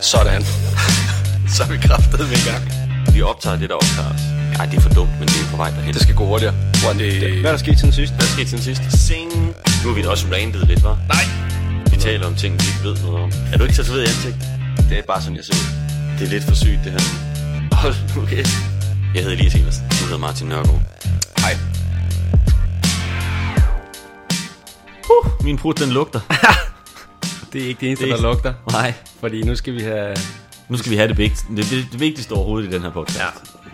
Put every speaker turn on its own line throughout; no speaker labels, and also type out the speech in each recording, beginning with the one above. Sådan. Så er vi kraftet med i gang.
Vi optager det, der optager os. Ej, det er for dumt, men det er på vej derhen.
Det skal gå hurtigere. Hvor det...
Hvad er der sket siden sidst?
Hvad skete siden sidst? Sing. Nu har vi også randet lidt, var?
Nej.
Vi taler om ting, vi ikke ved noget om. Er du ikke så ved i ansigt? Det er bare sådan, jeg ser ud. Det er lidt for sygt, det her. Hold nu kæft. Jeg hedder Elias Elersen. Du hedder Martin Nørgaard.
Hej.
Min prut, den lugter.
Det er ikke det eneste,
Det er
der
ikke-
lugter.
Nej.
Fordi nu skal vi have...
Nu skal vi have det, vigtigste, det, det, det vigtigste overhovedet i den her podcast. Ja.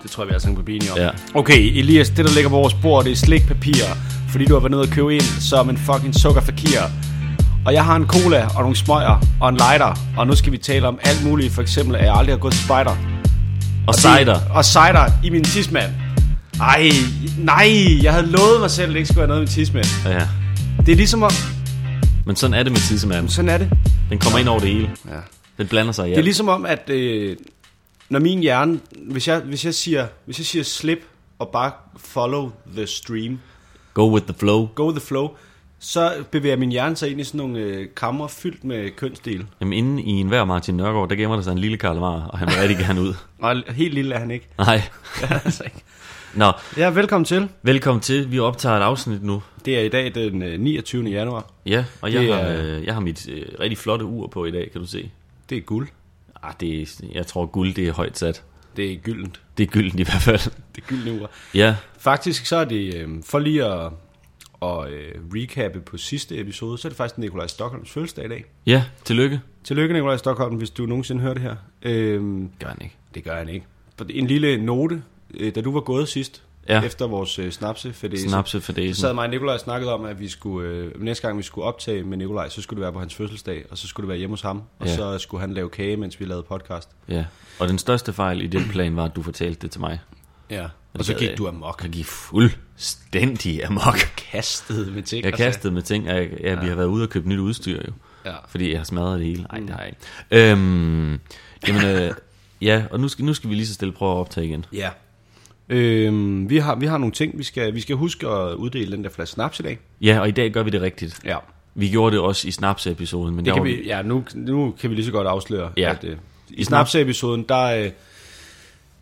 Det tror jeg, vi har sådan på benen om.
Ja.
Okay, Elias, det der ligger på vores bord, det er slikpapir. Fordi du har været nede og købe ind som en fucking sukkerfakir. Og jeg har en cola og nogle smøger og en lighter. Og nu skal vi tale om alt muligt. For eksempel, at jeg aldrig har gået til spider.
Og cider.
Og cider i min tidsmand. Ej, nej, jeg havde lovet mig selv, at det ikke skulle være noget med tidsmand.
Ja.
Det er ligesom om...
Men sådan er det med tidsmanden.
Sådan er det.
Den kommer ind over det hele.
Ja.
Den blander sig i
Det er
alt.
ligesom om, at øh, når min hjerne, hvis jeg, hvis, jeg siger, hvis jeg siger slip og bare follow the stream,
Go with the flow.
go with the flow, så bevæger min hjerne sig ind i sådan nogle øh, kamre fyldt med kønsdel.
Jamen inde i enhver Martin Nørgaard, der gemmer der sig en lille Karlemar, og han vil rigtig gerne ud.
Og helt lille er han ikke.
Nej.
altså ikke.
Nå,
Ja, velkommen til.
velkommen til. Vi optager et afsnit nu.
Det er i dag den øh, 29. januar.
Ja, og
Det
jeg, har,
er-
øh, jeg har mit øh, rigtig flotte ur på i dag, kan du se.
Det er guld.
Ah, det er, jeg tror guld, det er højt sat.
Det er gyldent.
Det er gyldent i hvert fald.
Det gyldne ur.
Ja,
Faktisk så er det, øh, for lige at, at øh, recappe på sidste episode, så er det faktisk Nikolaj Stockholms fødselsdag i dag.
ja, tillykke.
Tillykke, Nikolaj Stockholm, hvis du nogensinde hører det her. Øhm,
Gør han ikke.
det gør han ikke. En lille note, øh, da du var gået sidst,
Ja.
ja. efter vores øh, snapsefædese,
Snapse for
så
det.
sad mig og Nikolaj og snakkede om, at vi skulle, øh, næste gang vi skulle optage med Nikolaj, så skulle det være på hans fødselsdag, og så skulle det være hjemme hos ham, og
Ja.
så skulle han lave kage, mens vi lavede podcast.
Ja, og den største fejl i den plan var, at du fortalte det til mig.
Ja. Og
det
så
gad jeg
gik du
ikke.
amok.
Jeg gik fuldstændig amok.
Kastede med ting.
Jeg
og sager.
kastede med ting, og jeg, Altså- ja, Mm. vi har været ude og købt nyt udstyr jo.
Ja.
Fordi jeg har smadret det hele. Nej, det har jeg ikke. Øhm, jamen, øh, ja, og nu skal, nu skal vi lige så stille prøve at optage igen.
Ja. Øhm, vi, har, vi har nogle ting, vi skal, vi skal huske at uddele den der flaske snaps i dag.
Ja, og i dag gør vi det rigtigt.
Ja.
Vi gjorde det også i Snaps-episoden, men
Det
der
kan
var
vi, ja, nu, nu kan vi lige så godt afsløre,
Ja.
ja. at øh, i Snaps-episoden, der, øh,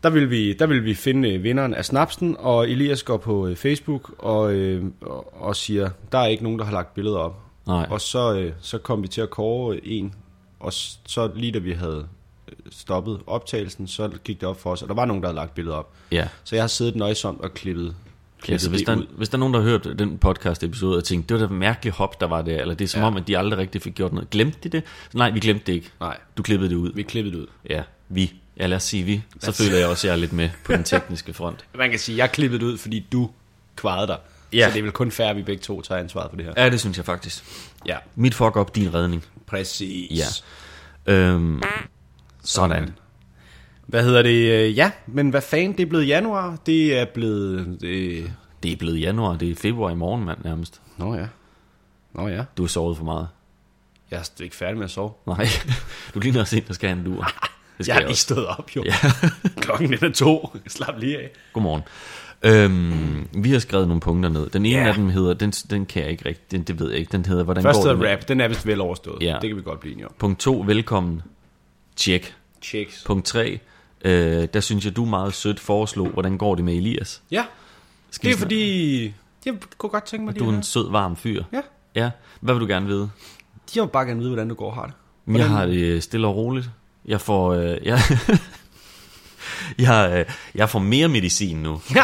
der, vil vi, der vil vi finde øh, vinderen af Snapsen, og Elias går på øh, Facebook og, øh, og- og siger, der er ikke nogen, der har lagt billeder op.
Nej.
Og så, øh, så kom vi til at kåre øh, en, og s- så lige da vi havde øh, stoppet optagelsen, så gik det op for os, og der var nogen, der havde lagt billeder op.
Ja.
Så jeg har siddet nøjsomt og klippet, klippet
Altså, hvis,
det
der,
ud.
hvis der er nogen, der har hørt den podcast-episode og tænkt, det var da et mærkeligt hop, der var der, eller det er som ja. om, at de aldrig rigtig fik gjort noget. Glemte de det? Nej, vi glemte det ikke.
Nej,
Du klippede det ud.
vi klippede det ud.
Ja, vi. Ja, lad os sige vi. Så føler jeg også, at jeg er lidt med på den tekniske front.
Man kan sige, jeg klippede det ud, fordi du kvarede dig.
Ja.
Så det er vel kun fair, at vi begge to tager ansvaret for det her.
Ja, det synes jeg faktisk.
Ja,
Mit fuck op, din redning.
præcis.
Ja. Øhm, sådan.
Hvad hedder det? Øh, Ja, men hvad fanden, det er blevet januar. Det er blevet... Øh...
Det er blevet januar, det er februar i morgen, mand, nærmest.
Nå ja. Nå ja.
Du har sovet for meget.
Jeg er st- ikke færdig med at sove.
Nej, du ligner også en, der skal have en lur. Det
Jeg
skal
har
jeg
lige
også.
stået op, jo.
Ja.
Ja. Klokken er to. Slap lige af.
Godmorgen. Øhm, vi har skrevet nogle punkter ned. Den ene
Ja.
af dem hedder, den, den kan jeg ikke rigtigt, den, det ved jeg ikke. Den hedder, hvordan
Først
går det med-
hedder rap. Den er vist vel overstået.
Ja.
Det kan vi godt blive enige om.
Punkt 2, velkommen. Tjek.
Checks.
Punkt 3, øh, der synes jeg, du meget sødt foreslog, hvordan går det med Elias?
Ja,
Skal
det er
vi
fordi... Jeg kunne godt tænke mig
snakke- Du er
her.
en sød, varm fyr.
Ja,
Ja. Hvad vil du gerne vide?
de har jo bare gerne vide, hvordan du går og har det.
Hvordan? Jeg har det øh, stille og roligt. Jeg får, øh, jeg, jeg, øh, jeg får mere medicin nu.
Ja.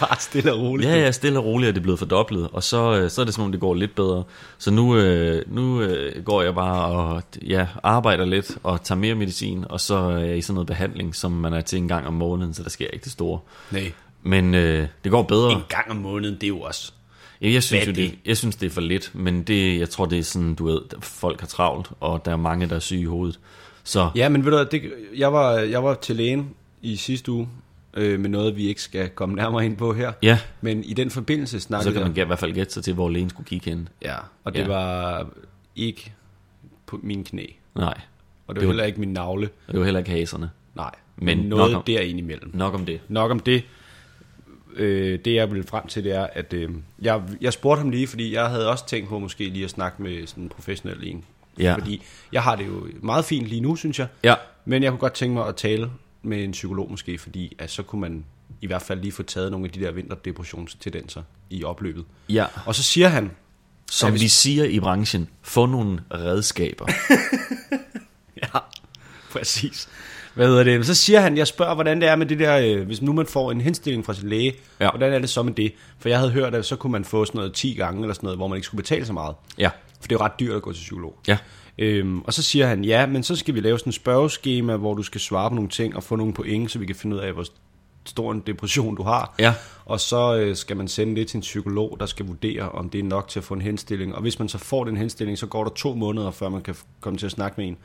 bare stille og roligt.
Ja, ja, stille og roligt er det blevet fordoblet, og så, øh, så er det sådan, at det går lidt bedre. Så nu, øh, nu øh, går jeg bare og ja, arbejder lidt og tager mere medicin, og så er jeg i sådan noget behandling, som man er til en gang om måneden, så der sker ikke det store.
Nej.
Men øh, det går bedre.
En gang om måneden, det er jo også
Jeg, jeg, synes, jo,
Hvad er
det, jeg synes, det er for lidt, men det, jeg tror, det er sådan, du ved, folk har travlt, og der er mange, der er syge i hovedet. Så
Ja, men ved du, hvad, det, jeg, var, jeg var til lægen i sidste uge øh, med noget, vi ikke skal komme nærmere ind på her.
ja,
Men i den forbindelse
så
snakkede
kan
jeg...
man gæ- i hvert fald gætte sig til, hvor lægen skulle kigge hen.
Ja, og det
Ja.
ja. var ikke på min knæ.
Nej,
Og det var,
Det var-
heller ikke min navle.
og det var heller ikke haserne.
Nej,
Men
men
nok om-
noget der indimellem.
Nok om det.
Nok om det. Øh, det jeg ville frem til, det er, at øh, jeg, jeg spurgte ham lige, fordi jeg havde også tænkt på måske lige at snakke med sådan en professionel en
Ja.
Fordi jeg har det jo meget fint lige nu, synes jeg.
Ja,
Men jeg kunne godt tænke mig at tale med en psykolog måske, fordi at så kunne man i hvert fald lige få taget nogle af de der vinterdepressionstendenser i opløbet.
ja.
Og så siger han,
Som vi siger i branchen, få nogle redskaber.
Ja, præcis. Hvad hedder det? Men Så siger han, jeg spørger, hvordan det er med det der, øh, hvis nu man får en henstilling fra sin læge,
Ja.
ja. hvordan er det så med det? For jeg havde hørt, at så kunne man få sådan noget 10 gange eller sådan noget, hvor man ikke skulle betale så meget.
Ja,
For det er jo ret dyrt at gå til psykolog.
ja,
Øhm, og så siger han, ja, men så skal vi lave sådan et spørgeskema, hvor du skal svare på nogle ting og få nogle point, så vi kan finde ud af, hvor stor en depression du har.
Ja.
Og så øh, skal man sende det til en psykolog, der skal vurdere, om det er nok til at få en henstilling. Og hvis man så får den henstilling, så går der to måneder, før man kan f- komme til at snakke med en.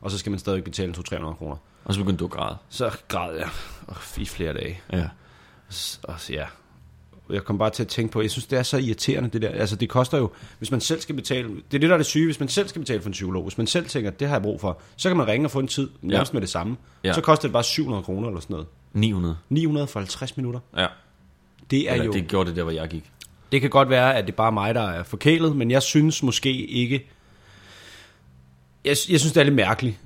Og så skal man stadig betale 200-300 kroner.
og så begyndte du at græde.
Så græd jeg og i flere dage.
Ja.
S- Og så, ja. Jeg kom bare til at tænke på, jeg synes, det er så irriterende, det der. Altså, det koster jo, hvis man selv skal betale, det er det, der er det syge, hvis man selv skal betale for en psykolog, hvis man selv tænker, det har jeg brug for, så kan man ringe og få en tid, nærmest
Ja.
ja. med det samme.
Ja.
Ja. Så koster det bare 700 kroner eller sådan noget.
900.
900 for 50 minutter.
Ja,
Det er
Eller,
jo...
det gjorde det der, hvor jeg gik.
Det kan godt være, at det er bare mig, der er forkælet, men jeg synes måske ikke... Jeg, jeg synes, det er lidt mærkeligt,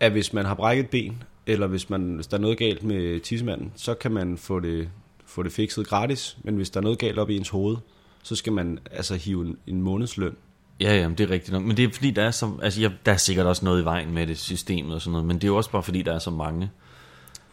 at hvis man har brækket et ben, eller hvis, man, hvis der er noget galt med tissemanden, så kan man få det, få det fikset gratis, men hvis der er noget galt op i ens hoved, så skal man altså hive en, en månedsløn.
Ja, ja, men det er rigtigt nok. Men det er fordi, der er, så, altså, ja, der er sikkert også noget i vejen med det systemet og sådan noget, men det er jo også bare fordi, der er så mange.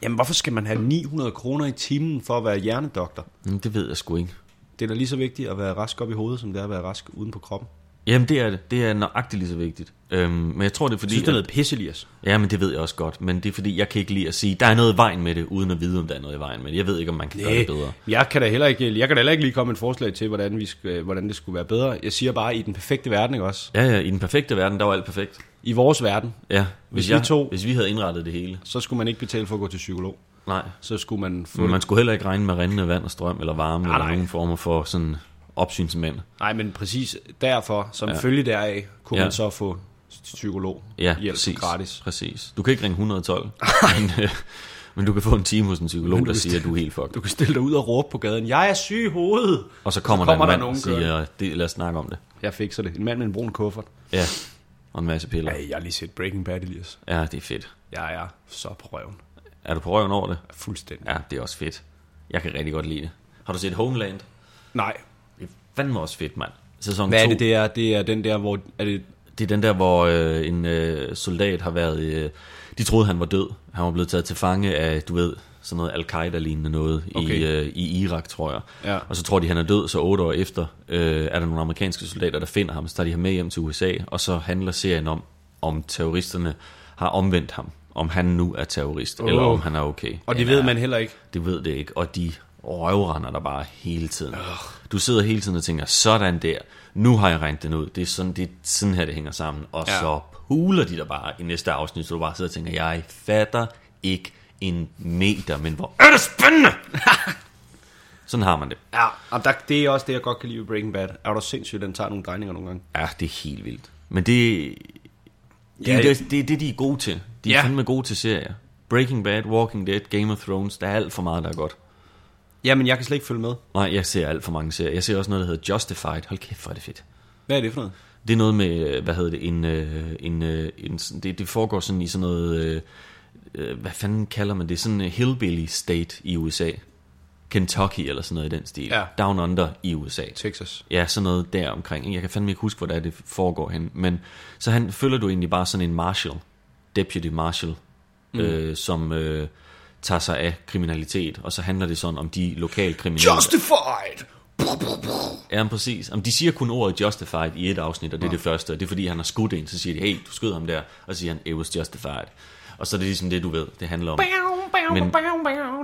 Jamen, hvorfor skal man have 900 kroner i timen for at være hjernedoktor?
Men det ved jeg sgu ikke.
Det er da lige så vigtigt at være rask op i hovedet, som det er at være rask uden på kroppen.
Jamen, det er det. Det er nøjagtigt lige så vigtigt. Øhm, men jeg tror, det er fordi...
Jeg synes, det er
at-
noget pisse, Elias.
Ja, men det ved jeg også godt. Men det er fordi, jeg kan ikke lide at sige, der er noget i vejen med det, uden at vide, om der er noget i vejen med det. Jeg ved ikke, om man kan gøre det bedre.
Øh, Jeg kan da heller ikke, jeg kan da heller ikke lige komme med et forslag til, hvordan, vi skal, hvordan det skulle være bedre. Jeg siger bare, i den perfekte verden, ikke også?
Ja, ja, i den perfekte verden, der var alt perfekt.
I vores verden,
Ja, hvis,
Hvis
jeg,
vi to-
hvis vi havde indrettet det hele.
så skulle man ikke betale for at gå til psykolog.
Nej,
Så skulle man få...
men man skulle heller ikke regne med rindende vand og strøm eller varme nej, eller
nej.
nogen former for sådan opsynsmænd.
Nej, men præcis derfor, som ja. følge deraf, kunne
Ja.
ja. man så få psykolog
Ja,
hjælp
præcis,
gratis.
præcis. Du kan ikke ringe 112, men, øh, men du kan få en time hos en psykolog, der siger, at du er helt fucked.
Du kan stille dig ud og råbe på gaden, jeg er syg i hovedet!
Og så kommer,
Så kommer
der
der
en mand og
nogen kørende.
siger, det, lad os snakke om det.
Jeg fikser det. En mand med en brun kuffert.
Ja, og en masse piller.
Ej, jeg har lige set Breaking Bad, Elias.
Ja, det er fedt.
Jeg er så på røven.
Er du på røven over det?
Fuldstændig. Ja.
Ja, det er også fedt. Jeg kan rigtig godt lide det. Har du set Homeland?
Nej.
Det er fandme også fedt, mand. Sæson
Hvad er
2.
det, det er? Det er den der, hvor... Er det,
Det er den der, hvor øh, en øh, soldat har været... Øh, de troede, han var død. Han var blevet taget til fange af, du ved, sådan noget al-Qaida-lignende noget okay. i,
Okay.
øh, i Irak, tror jeg.
Ja.
Og så tror de, han er død, så otte år efter øh, er der nogle amerikanske soldater, der finder ham. Så tager de ham med hjem til USA, og så handler serien om, om terroristerne har omvendt ham. Om han nu er terrorist, oh. eller om han er okay.
og det
Eller
ved
er-
man heller ikke.
Det ved det ikke, og de røvrender der bare hele tiden. Du sidder hele tiden og tænker, sådan der, nu har jeg regnet den ud, det er sådan, det er sådan her, det hænger sammen. Og ja.
Ja.
så puler de der bare i næste afsnit, så du bare sidder og tænker, jeg fatter ikke en meter, men hvor er det spændende! sådan har man det.
Ja, og der, det er også det, jeg godt kan lide ved Breaking Bad. Er du sindssygt, den tager nogle drejninger nogle gange?
Ja, det er helt vildt. Men det, det,
Ja,
ja,
ja.
det, det, er det de er gode til. De er ja.
Ja.
fandme gode til serier. Breaking Bad, Walking Dead, Game of Thrones, der er alt for meget, der er godt.
Jamen, jeg kan slet ikke følge med.
Nej, jeg ser alt for mange serier. Jeg ser også noget, der hedder Justified. Hold kæft, hvor er det fedt.
Hvad er det for noget?
Det er noget med, øh, hvad hedder det, en, øh, en, øh, en sådan- det, det foregår sådan i sådan noget, øh, øh, hvad fanden kalder man det, sådan en hillbilly state i USA. Kentucky eller sådan noget i den stil.
Ja.
Down Under i USA.
Texas.
Ja, sådan noget der omkring. Jeg kan fandme ikke huske, hvor det, er, det foregår hen. Men så han, følger du egentlig bare sådan en marshal, deputy marshal, mm. øh, som øh, tager sig af kriminalitet, og så handler det sådan om de lokale kriminelle.
Justified!
Ja, men præcis. Jamen, de siger kun ordet justified i et afsnit, og det er det første. Og det er fordi, han har skudt en, så siger de, hey, du skød ham der. Og så siger han, it was justified. Og så er det ligesom det, du ved, det handler om. Men,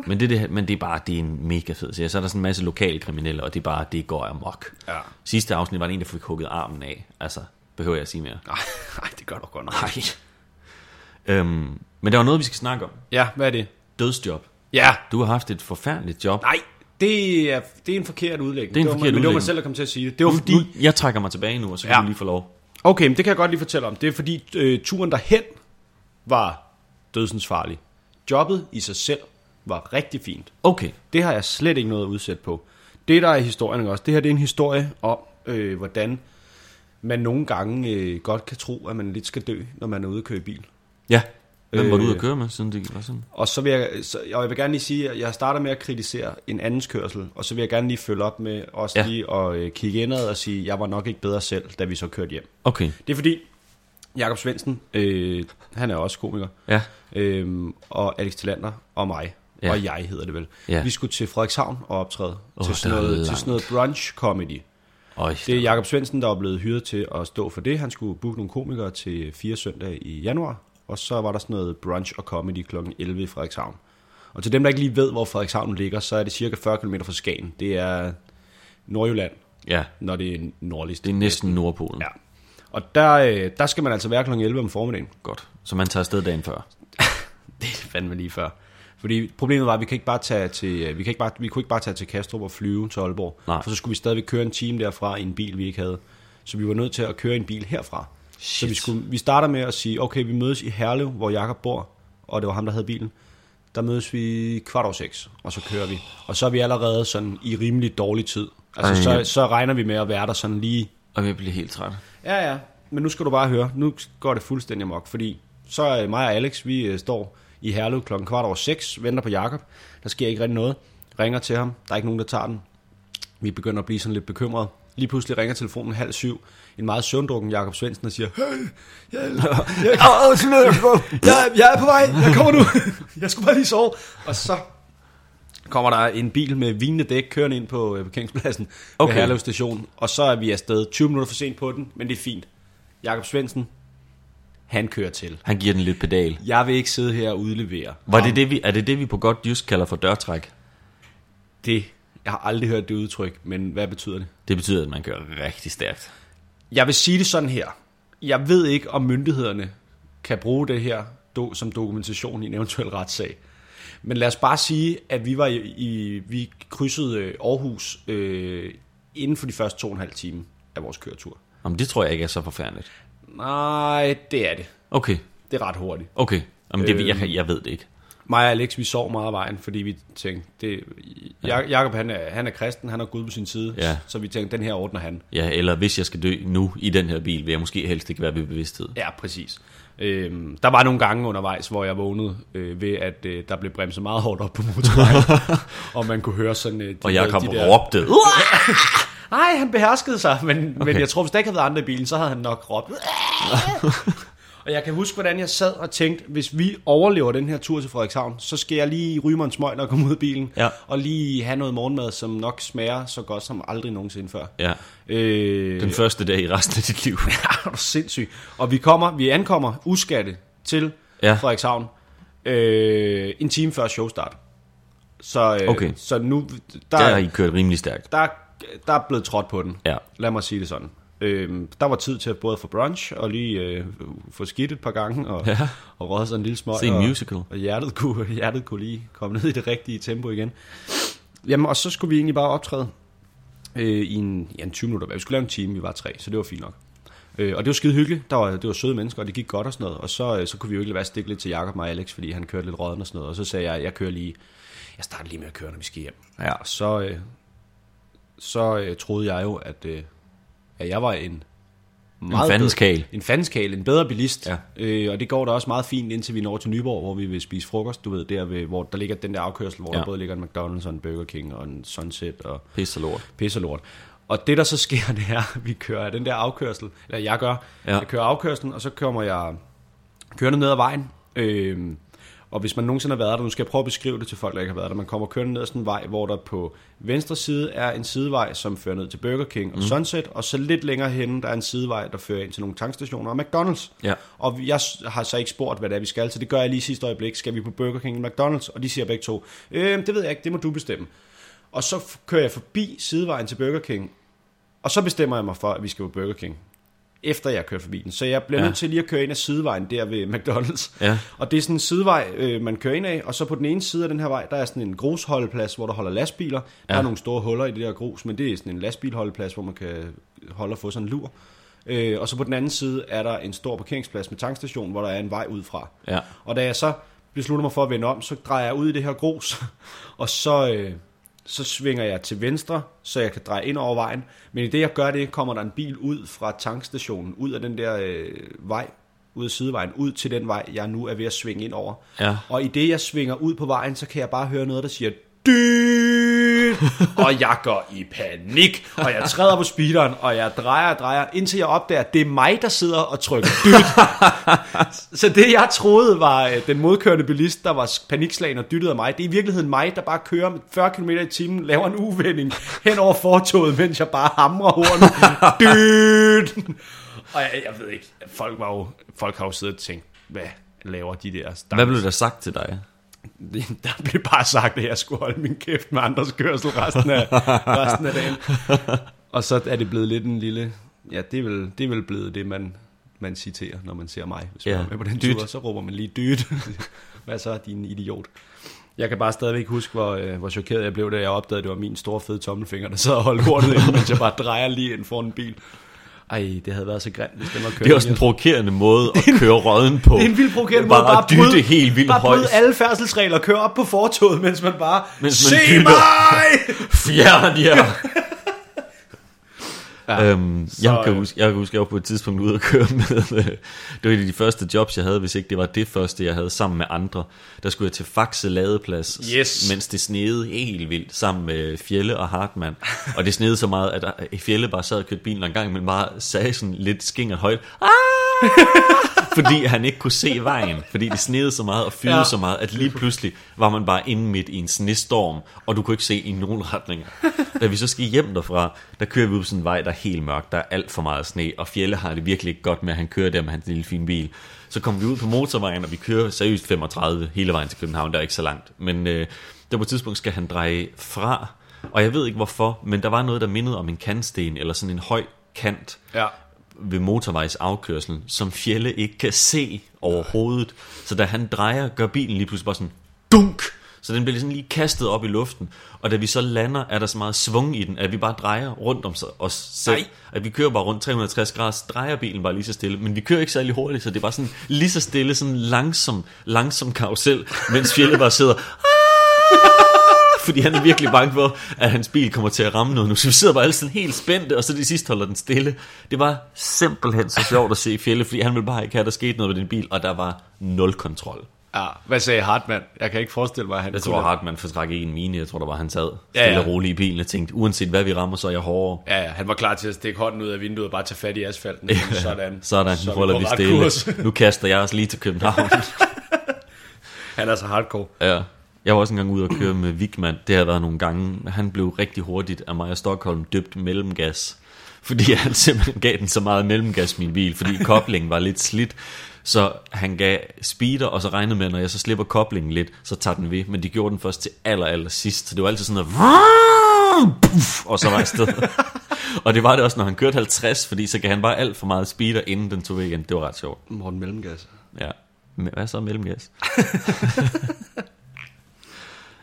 men, det, er det, men det er bare, det er en mega fed serie. Så er der sådan en masse lokale kriminelle, og det er bare, det går amok.
Ja.
Sidste afsnit var der en, der fik hugget armen af. Altså, behøver jeg at sige mere?
Nej, det gør du godt nok.
Nej. øhm, men der var noget, vi skal snakke om.
Ja, hvad er det?
Dødsjob.
Ja.
Du har haft et forfærdeligt job.
Nej, det er, det er en forkert udlægning.
Det er en
var,
forkert
men det var
udlægning.
mig selv, der kom til at sige det. Det var fordi...
Nu, jeg trækker mig tilbage nu, og så kan
Ja.
du lige få lov.
Okay, men det kan jeg godt lige fortælle om. Det er fordi øh, turen derhen var dødsens farlig. Jobbet i sig selv var rigtig fint.
Okay.
Det har jeg slet ikke noget at udsætte på. Det, der er historien ikke også, det her det er en historie om, øh, hvordan man nogle gange øh, godt kan tro, at man lidt skal dø, når man er ude at køre i bil.
Ja. Hvem var du ude at
Øh.
køre med, siden det var sådan?
Og så vil jeg, så, og jeg vil gerne lige sige, at jeg starter med at kritisere en andens kørsel, og så vil jeg gerne lige følge op med også
Ja.
ja. lige at øh, kigge indad og sige, at jeg var nok ikke bedre selv, da vi så kørte hjem.
Okay,
Det er fordi, Jakob Svendsen, øh, han er også komiker,
ja.
øh, og Alex Tillander og mig,
Ja.
ja. og jeg hedder det vel.
Ja.
Ja. Vi skulle til Frederikshavn og optræde
Åh,
oh, til, sådan
der er
noget, til
langt.
sådan noget brunch comedy.
Øj,
Det er Jakob Svendsen, der er blevet hyret til at stå for det. Han skulle booke nogle komikere til fire søndage i januar, og så var der sådan noget brunch og comedy kl. 11 i Frederikshavn. Og til dem, der ikke lige ved, hvor Frederikshavn ligger, så er det cirka 40 km fra Skagen. Det er Nordjylland,
ja,
når det er nordligst.
det er næsten Nordpolen.
Ja. Og der, øh, der skal man altså være kl. 11 om formiddagen.
Godt. Så man tager afsted dagen før.
Det er fandme lige før. Fordi problemet var, at vi kan ikke bare tage til, øh, vi, kan ikke bare, vi kunne ikke bare tage til Kastrup og flyve til Aalborg.
Nej.
For så skulle vi stadigvæk køre en time derfra i en bil, vi ikke havde. Så vi var nødt til at køre en bil herfra. Shit. Så vi, skulle, vi starter med at sige, okay, vi mødes i Herlev, hvor Jakob bor, og det var ham, der havde bilen. Der mødes vi kvart over seks, og så kører vi. Og så er vi allerede sådan i rimelig dårlig tid. Altså,
Ej, ja.
så, så regner vi med at være der sådan lige
Og jeg bliver helt træt.
Ja, ja. Men nu skal du bare høre. Nu går det fuldstændig amok, fordi så er mig og Alex, vi øh, står i Herlev klokken kvart over seks, venter på Jakob. Der sker ikke rigtig noget. Ringer til ham. Der er ikke nogen, der tager den. Vi begynder at blive sådan lidt bekymrede. Lige pludselig ringer telefonen halv syv. En meget søvndrukken Jakob Svendsen, der siger, hey, jeg, jeg, jeg, jeg er på vej, jeg kommer nu. Jeg skulle bare lige sove. Og så kommer der en bil med vinende dæk kørende ind på øh, parkeringspladsen okay.
Okay.
ved Herlev station, og så er vi afsted 20 minutter for sent på den, men det er fint. Jakob Svendsen, han kører til.
Han giver den lidt pedal.
Jeg vil ikke sidde her og udlevere.
Var
ham.
det det, vi, er det det, vi på godt jysk kalder for dørtræk?
det? Jeg har aldrig hørt det udtryk, men hvad betyder det?
Det betyder, at man kører rigtig stærkt.
Jeg vil sige det sådan her. Jeg ved ikke, om myndighederne kan bruge det her do, som dokumentation i en eventuel retssag. Men lad os bare sige, at vi var i, i vi krydsede øh, Aarhus øh, inden for de første to og en halv time af vores køretur.
Jamen, det tror jeg ikke er så forfærdeligt.
Nej, det er det.
Okay,
Det er ret hurtigt.
okay. Jamen,
Øh.
det, jeg, jeg ved det ikke.
Mig og Alex, vi sov meget af vejen, fordi vi tænkte, det, ja. Jacob han er, han er kristen, han har Gud på sin side,
Ja.
så vi tænkte, den her ordner han.
Ja, eller hvis jeg skal dø nu i den her bil, vil jeg måske helst ikke være ved bevidsthed.
Ja, præcis. Øhm, der var nogle gange undervejs, hvor jeg vågnede øh, ved, at øh, der blev bremset meget hårdt op på motorvejen, og man kunne høre sådan... Øh, de,
Og jeg kom
de
og
der-
råbte.
Nej, han beherskede sig, men, okay.
Okay.
men jeg tror, hvis der ikke havde været andre i bilen, så havde han nok råbt. og jeg kan huske, hvordan jeg sad og tænkte, hvis vi overlever den her tur til Frederikshavn, så skal jeg lige ryge mig en smøg, når jeg kommer ud af bilen,
Ja.
og lige have noget morgenmad, som nok smager så godt som aldrig nogensinde før.
Ja,
Øh,
den første dag i resten af dit liv.
er du sindssyg. Og vi, kommer, vi ankommer uskatte til
Ja.
ja. Frederikshavn øh, en time før showstart. Så, øh,
Okay.
så nu,
Der har
der,
I kørt rimelig stærkt.
der, der er blevet trådt på den.
Ja.
Lad mig sige det sådan. Øh, der var tid til at både få brunch og lige øh, få skidt et par gange og,
Ja.
ja. og råde sig en lille smøg.
Se en
og,
musical.
Og hjertet kunne, hjertet kunne lige komme ned i det rigtige tempo igen. Jamen, og så skulle vi egentlig bare optræde øh, i en, ja, en 20 minutter. Vi skulle lave en time, vi var tre, så det var fint nok. Øh, og det var skide hyggeligt. Der var, det var søde mennesker, og det gik godt og sådan noget. Og så, øh, så kunne vi jo ikke lade være at stikke lidt til Jakob og Alex, fordi han kørte lidt råden og sådan noget. Og så sagde jeg, jeg kører lige, jeg starter lige med at køre, når vi skal hjem.
Ja.
Og så, øh, så øh, troede jeg jo, at, øh, at jeg var en meget
fandenskal.
bedre- En fandenskal, en bedre bilist.
Ja.
Øh, og det går da også meget fint, indtil vi når til Nyborg, hvor vi vil spise frokost, du ved, der, ved, hvor der ligger den der afkørsel, hvor
Ja.
ja. der både ligger en McDonald's og en Burger King og en Sunset og
Pisse og lort.
pisse og lort. Og det, der så sker, det er, at vi kører af den der afkørsel, eller jeg gør,
Ja.
ja. jeg kører afkørselen, og så kommer jeg kørende ned ad vejen. Øhm, og hvis man nogensinde har været der, nu skal jeg prøve at beskrive det til folk, der ikke har været der, man kommer kørende ned ad sådan en vej, hvor der på venstre side er en sidevej, som fører ned til Burger King og mm. Sunset, og så lidt længere henne, der er en sidevej, der fører ind til nogle tankstationer og McDonald's.
Ja.
Og jeg s- har så ikke spurgt, hvad det er, vi skal, så det gør jeg lige i sidste øjeblik. Skal vi på Burger King eller McDonald's? Og de siger begge to, øh, det ved jeg ikke, det må du bestemme. Og så f- kører jeg forbi sidevejen til Burger King, og så bestemmer jeg mig for, at vi skal på Burger King, efter jeg kører forbi den. Så jeg bliver
Ja.
ja. nødt til lige at køre ind ad sidevejen der ved McDonald's.
Ja.
Og det er sådan en sidevej, øh, man kører ind af, og så på den ene side af den her vej, der er sådan en grusholdeplads, hvor der holder lastbiler. Ja. Der er nogle store huller i det der grus, men det er sådan en lastbilholdeplads, hvor man kan holde og få sådan en lur. Øh, og så på den anden side er der en stor parkeringsplads med tankstation, hvor der er en vej ud fra.
Ja.
Og da jeg så beslutter mig for at vende om, så drejer jeg ud i det her grus, og så, øh, så svinger jeg til venstre, så jeg kan dreje ind over vejen. Men i det, jeg gør det, kommer der en bil ud fra tankstationen, ud af den der øh, vej, ud af sidevejen, ud til den vej, jeg nu er ved at svinge ind over.
Ja.
Og i det, jeg svinger ud på vejen, så kan jeg bare høre noget, der siger, dyt, og jeg går i panik, og jeg træder på speederen, og jeg drejer og drejer, indtil jeg opdager, at det er mig, der sidder og trykker dyt. så det, jeg troede var øh, den modkørende bilist, der var panikslagen og dyttede af mig, det er i virkeligheden mig, der bare kører med 40 km i timen, laver en uvending hen over fortoget, mens jeg bare hamrer hornet. dyt. Og jeg, jeg ved ikke, folk, var jo, folk har jo siddet og tænkt, hvad laver de der
Hvad blev der sagt til dig?
det- der blev bare sagt, at jeg skulle holde min kæft med andres kørsel resten af, resten af dagen. Og så er det blevet lidt en lille... Ja, det er vel, det er vel blevet det, man, man citerer, når man ser mig. Hvis man
Ja,
er med på den
dyt.
tur, så råber man lige dyt. Hvad så, din idiot? Jeg kan bare stadigvæk huske, hvor, øh, hvor chokeret jeg blev, da jeg opdagede, at det var min store fede tommelfinger, der sad og holdt hornet inde, mens jeg bare drejer lige ind foran en bil. Ej, det havde været så grimt, hvis den var kørt.
Det er også en provokerende måde at køre røden på.
Det er en vildt provokerende
bare
måde bare at
dytte
bryde,
helt vildt
bare bryde
højt.
alle færdselsregler, køre op på fortoget, mens man bare,
Mens man
se
dytter."
mig!
Fjern jer! Ja, øhm, jeg, kan
øh.
huske, jeg kan huske, jeg var på et tidspunkt ude at køre med, øh, det var et af de første jobs, jeg havde, hvis ikke det var det første, jeg havde sammen med andre. Der skulle jeg til Faxe Ladeplads,
Yes.
mens det sneede helt vildt, sammen med Fjelle og Hartmann. Og det sneede så meget, at øh, Fjelle bare sad og kørte bilen og en gang, men bare sagde sådan lidt skingert højt, "Ah!" fordi han ikke kunne se vejen, fordi det sneede så meget og fyldte
Ja.
ja. så meget, at lige pludselig var man bare inde midt i en snestorm, og du kunne ikke se i nogen retninger. Da vi så skal hjem derfra, der kører vi ud på sådan en vej, der er helt mørk, der er alt for meget sne, og Fjelle har det virkelig ikke godt med, at han kører der med hans lille fine bil. Så kommer vi ud på motorvejen, og vi kører seriøst 35 hele vejen til København, der er ikke så langt. Men øh, der på et tidspunkt skal han dreje fra, og jeg ved ikke hvorfor, men der var noget, der mindede om en kantsten, eller sådan en høj kant,
Ja.
ved motorvejsafkørslen, som Fjelle ikke kan se overhovedet. Så da han drejer, gør bilen lige pludselig bare sådan dunk, så den bliver sådan lige kastet op i luften. Og da vi så lander, er der så meget svung i den, at vi bare drejer rundt om så- os selv.
Nej.
At vi kører bare rundt 360 grader, så drejer bilen bare lige så stille. Men vi kører ikke særlig hurtigt, så det er bare sådan lige så stille, sådan langsom, langsom karusel, mens Fjelle bare sidder fordi han er virkelig bange for, at hans bil kommer til at ramme noget nu. Så vi sidder bare alle sådan helt spændte, og så det sidste holder den stille. Det var simpelthen så sjovt at se Fjelle, fordi han ville bare ikke have, at der skete noget med den bil, og der var nul kontrol.
ja. Hvad sagde Hartmann? Jeg kan ikke forestille mig, at han
Jeg tror, Hartmann fortræk i en mine. Jeg tror, der var, han sad
Ja, ja.
stille og roligt i bilen og tænkte, uanset hvad vi rammer, så er jeg hårdere.
Ja, ja, han var klar til at stikke hånden ud af vinduet og bare tage fat i asfalten. Sådan.
Sådan,
Så
så
er vi
holder
på
vi
ret
stille.
kurs.
Nu kaster jeg os lige til København.
Han er så hardcore.
Ja. Jeg var også engang ude og køre med Vigman. Det har jeg været nogle gange. Han blev rigtig hurtigt af mig og Stockholm døbt mellemgas. Fordi han simpelthen gav den så meget mellemgas, min bil. Fordi koblingen var lidt slidt. Så han gav speeder, og så regnede med, at når jeg så slipper koblingen lidt, så tager den ved. Men de gjorde den først til aller, aller sidst. Så det var altid sådan noget... Puff, og så var jeg sted. og det var det også, når han kørte 50, fordi så gav han bare alt for meget speeder, inden den tog ved igen. Det var ret sjovt.
Morten Mellemgas.
Ja. Men Hvad så mellemgas?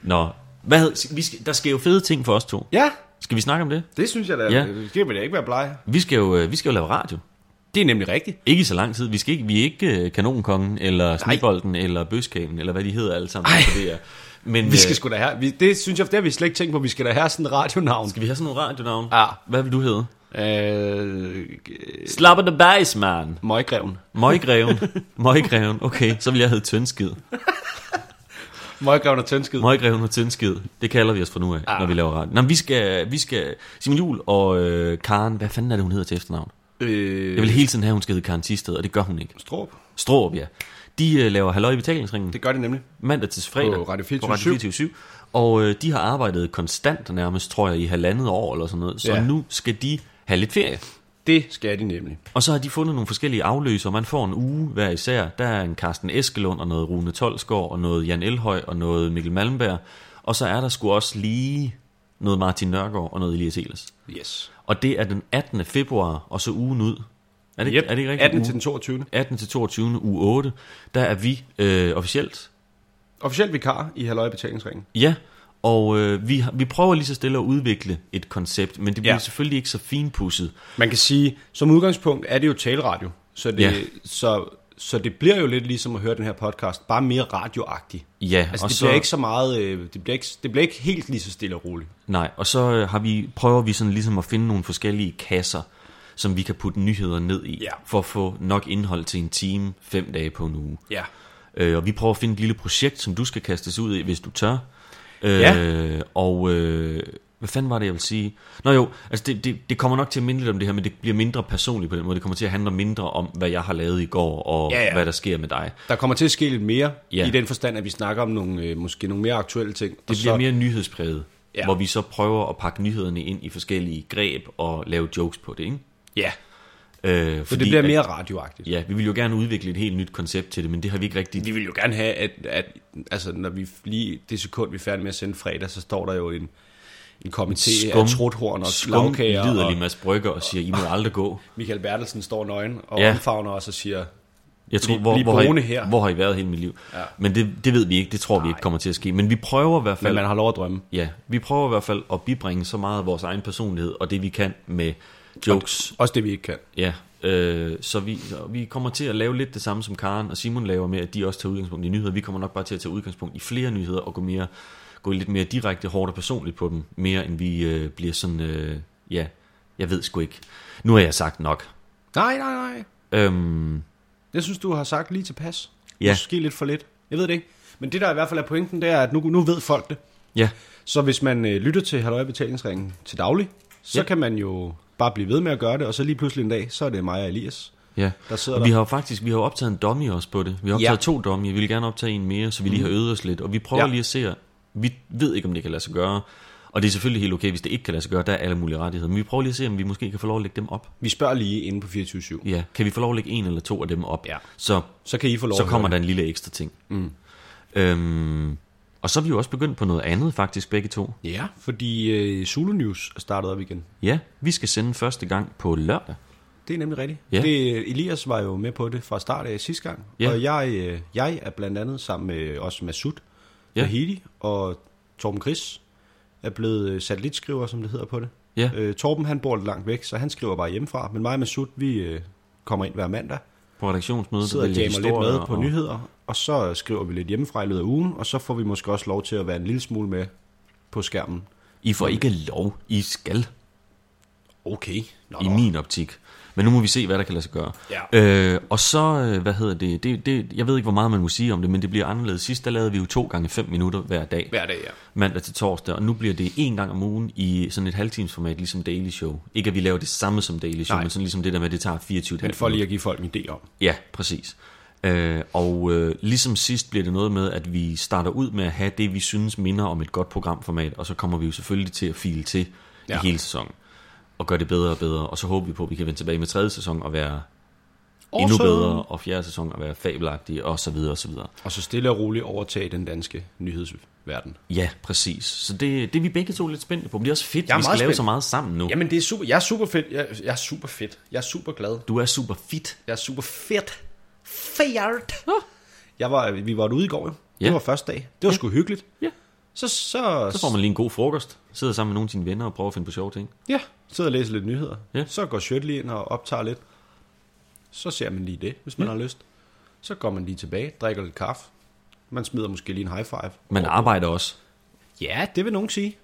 Nå, hvad, hed- vi skal, der sker jo fede ting for os to.
Ja,
Skal vi snakke om det?
det synes jeg da.
Ja.
Det skal vi da ikke være blege.
Vi skal jo, øh, vi skal jo lave radio.
Det er nemlig rigtigt.
Ikke i så lang tid. Vi, skal ikke, vi er ikke øh, kanonkongen, eller snibolden, eller bøskagen, eller hvad de hedder alle sammen. På det her. Men
Vi skal
øh,
sgu da have. Vi, det synes jeg, det har vi slet ikke tænkt på. Vi skal da have sådan et radionavn.
skal vi have sådan nogle radionavn?
Ja.
Hvad vil du hedde?
Øh, øh,
Slapper the bass, man.
Møggreven.
Møggreven. Møggreven. Okay, så vil jeg hedde Tønskid.
Møggreven og Tønskid.
Møggreven og Tønskid. Det kalder vi os fra nu af,
Ah.
når vi laver radio. Nå, men vi skal, vi skal... Simon Jul og øh, Karen... Hvad fanden er det, hun hedder til efternavn?
Øh,
Jeg vil hele tiden have, at hun skal hedde Karen Tisted, og det gør hun ikke.
Strup.
Stråb, ja. De øh, laver halløj i betalingsringen
Det gør det nemlig.
mandag til fredag
På Radio
på Radio 24 Og øh, de har arbejdet konstant nærmest, tror jeg, i halvandet år eller sådan noget. Så
Ja.
ja. nu skal de have lidt ferie.
Det skal de nemlig.
Og så har de fundet nogle forskellige afløser. Man får en uge hver især. Der er en Carsten Eskelund og noget Rune Tolsgaard og noget Jan Elhøj og noget Mikkel Malmberg. Og så er der sgu også lige noget Martin Nørgaard og noget Elias Ehlers.
Yes.
Og det er den 18. februar, og så ugen ud. Er det,
Yep.
er det ikke rigtigt?
18
Ugen-
til den 22.
18 til 22. uge 8, der er vi øh, officielt.
Officielt vikar i halvøje betalingsringen.
Ja, og øh, vi, har- vi prøver lige så stille at udvikle et koncept, men det bliver
Ja.
ja. selvfølgelig ikke så finpudset.
Man kan sige, som udgangspunkt er det jo taleradio. Så, det,
Ja.
så Så det bliver jo lidt ligesom at høre den her podcast, bare mere radioagtig.
Ja,
Altså,
og
det
så,
bliver ikke så meget, øh, det bliver ikke, det bliver ikke helt lige så stille og roligt.
nej, og så øh, har vi, prøver vi sådan ligesom at finde nogle forskellige kasser, som vi kan putte nyheder ned i,
Ja.
for at få nok indhold til en time, fem dage på en uge.
Ja.
Øh, og vi prøver at finde et lille projekt, som du skal kastes ud i, hvis du tør. Øh,
Ja.
Og øh, hvad fanden var det, jeg ville sige? Nå jo, altså det, det, det kommer nok til at minde lidt om det her, men det bliver mindre personligt på den måde. Det kommer til at handle mindre om, hvad jeg har lavet i går, og
Ja,
ja,
ja.
ja. hvad der sker med dig. Det
Der kommer til at ske lidt mere, ja.
Ja.
i den forstand, at vi snakker om nogle, øh, måske nogle mere aktuelle ting. Det
bliver så... mere nyhedspræget,
Ja.
ja. hvor vi så prøver at pakke nyhederne ind i forskellige greb og lave jokes på det, ikke?
Ja,
Øh,
så det bliver mere radioagtigt.
At, ja, vi vil jo gerne udvikle et helt nyt koncept til det, men det har vi ikke rigtig...
Vi vil jo gerne have, at, at altså, når vi lige det sekund, vi er færdige med at sende fredag, så står der jo en, en komité af truthorn og
skum
slagkager,
liderlig
og
Mads Brygger og siger, I må aldrig gå.
Michael Bertelsen står nøgen og ja.
Ja.
omfavner os og siger,
Jeg tror,
Bliv-
hvor,
bliv
hvor, har
boende
I,
her.
hvor har I været hele mit liv? Ja. Men det, det ved vi ikke, det tror Nej. vi ikke kommer til at ske. Men vi prøver i hvert
men
fald,
man har lov at drømme.
ja, vi prøver i hvert fald at bibringe så meget af vores egen personlighed og det vi kan med jokes.
Også det, vi ikke kan.
Ja, øh, så vi, og vi kommer til at lave lidt det samme som Karen og Simon laver med, at de også tager udgangspunkt i nyheder. Vi kommer nok bare til at tage udgangspunkt i flere nyheder og gå mere gå lidt mere direkte, hårdt og personligt på dem, mere end vi øh, bliver sådan, øh, ja, jeg ved sgu ikke. Nu har jeg sagt nok.
Nej, nej, nej.
Øhm,
Jeg synes, du har sagt lige tilpas.
Ja.
Måske lidt for lidt. Jeg ved det ikke. Men det, der i hvert fald er pointen, det er, at nu, nu ved folk det.
ja,
Så hvis man øh, lytter til Halløj Betalingsringen til daglig, så ja.
Ja.
kan man jo bare blive ved med at gøre det, og så lige pludselig en dag, så er det mig og Elias.
Ja,
Der sidder
og vi
der-
har jo faktisk vi har jo optaget en dummy også på det. Vi har optaget
Ja. Mhm.
ja. to dummy, vi vil gerne optage en mere, så vi lige har øvet os lidt. Og vi prøver
Ja.
ja. lige at se, vi ved ikke, om det kan lade sig gøre. Og det er selvfølgelig helt okay, hvis det ikke kan lade sig gøre, der er alle mulige rettigheder. Men vi prøver lige at se, om vi måske kan få lov at lægge dem op.
Vi spørger lige inde på 24
Ja, kan vi få lov at lægge en eller to af dem op?
Ja.
Så,
Så kan I få lov
så
at
kommer
høre
der en lille ekstra ting. Mm. Øhm, og så er vi jo også begyndt på noget andet faktisk, begge to.
det. Ja, fordi øh, Zulu News er startet op igen.
Ja, vi skal sende første gang på lørdag.
Det er nemlig rigtigt.
Ja.
Det, Elias var jo med på det fra start af sidste gang,
Ja.
og jeg, øh, jeg er blandt andet sammen med også Masud
Ja.
Nahidi og Torben Chris er blevet øh, satellitskriver, som det hedder på det.
Ja.
Øh, Torben han bor lidt langt væk, så han skriver bare hjemmefra, men mig og Masud, vi øh, kommer ind hver mandag,
På redaktionsmødet.
sidder
der
og
vælger
jammer lidt
historier
med på
og-
nyheder, og så skriver vi lidt hjemmefra i løbet af ugen, og så får vi måske også lov til at være en lille smule med på skærmen.
I får ikke lov, I skal.
Okay. Nå,
i min optik. Men nu må vi se, hvad der kan lade sig gøre.
Ja.
Øh, og så, øh, hvad hedder det, det, det, jeg ved ikke, hvor meget man må sige om det, men det bliver anderledes. Sidst, der lavede vi jo to gange fem minutter hver dag,
Hver dag, ja.
mandag til torsdag, og nu bliver det en gang om ugen i sådan et halvtimesformat, ligesom Daily Show. Ikke at vi laver det samme som Daily Show,
Nej.
Nej. men sådan ligesom det der med, at det tager 24
Men for lige at give folk en idé om.
Ja, præcis. Øh, og øh, ligesom sidst bliver det noget med, at vi starter ud med at have det, vi synes minder om et godt programformat, og så kommer vi jo selvfølgelig til at file til ja.
Ja.
i hele sæsonen, og gøre det bedre og bedre, og så håber vi på, at vi kan vende tilbage med tredje sæson og være endnu bedre, og fjerde sæson og være fabelagtige, og så videre, og så videre.
Og så stille og roligt overtage den danske nyhedsverden.
Ja, præcis. Så det, det er vi begge to lidt spændte på, men det er også fedt,
er
vi skal
meget
lave
spændt.
så meget sammen nu. Jamen.
Jamen, det er super, jeg er super fedt. Jeg, jeg er super fedt. Jeg er super glad.
Du er super fit.
Jeg er super fedt. Fedt. Jeg var, vi var ude i går, jo.
Ja.
Det var første dag. Det var sgu hyggeligt.
Ja.
Så, så,
Så får man lige en god frokost, sidder sammen med nogle af sine venner og prøver at finde på sjove ting.
Ja, sidder og læser lidt nyheder. Ja.
Ja.
Så går Shirt lige ind og optager lidt. Så ser man lige det, hvis man ja. har lyst. Så går man lige tilbage, drikker lidt kaffe. Man smider måske lige en high five.
Man arbejder også.
Ja, det vil nogen sige.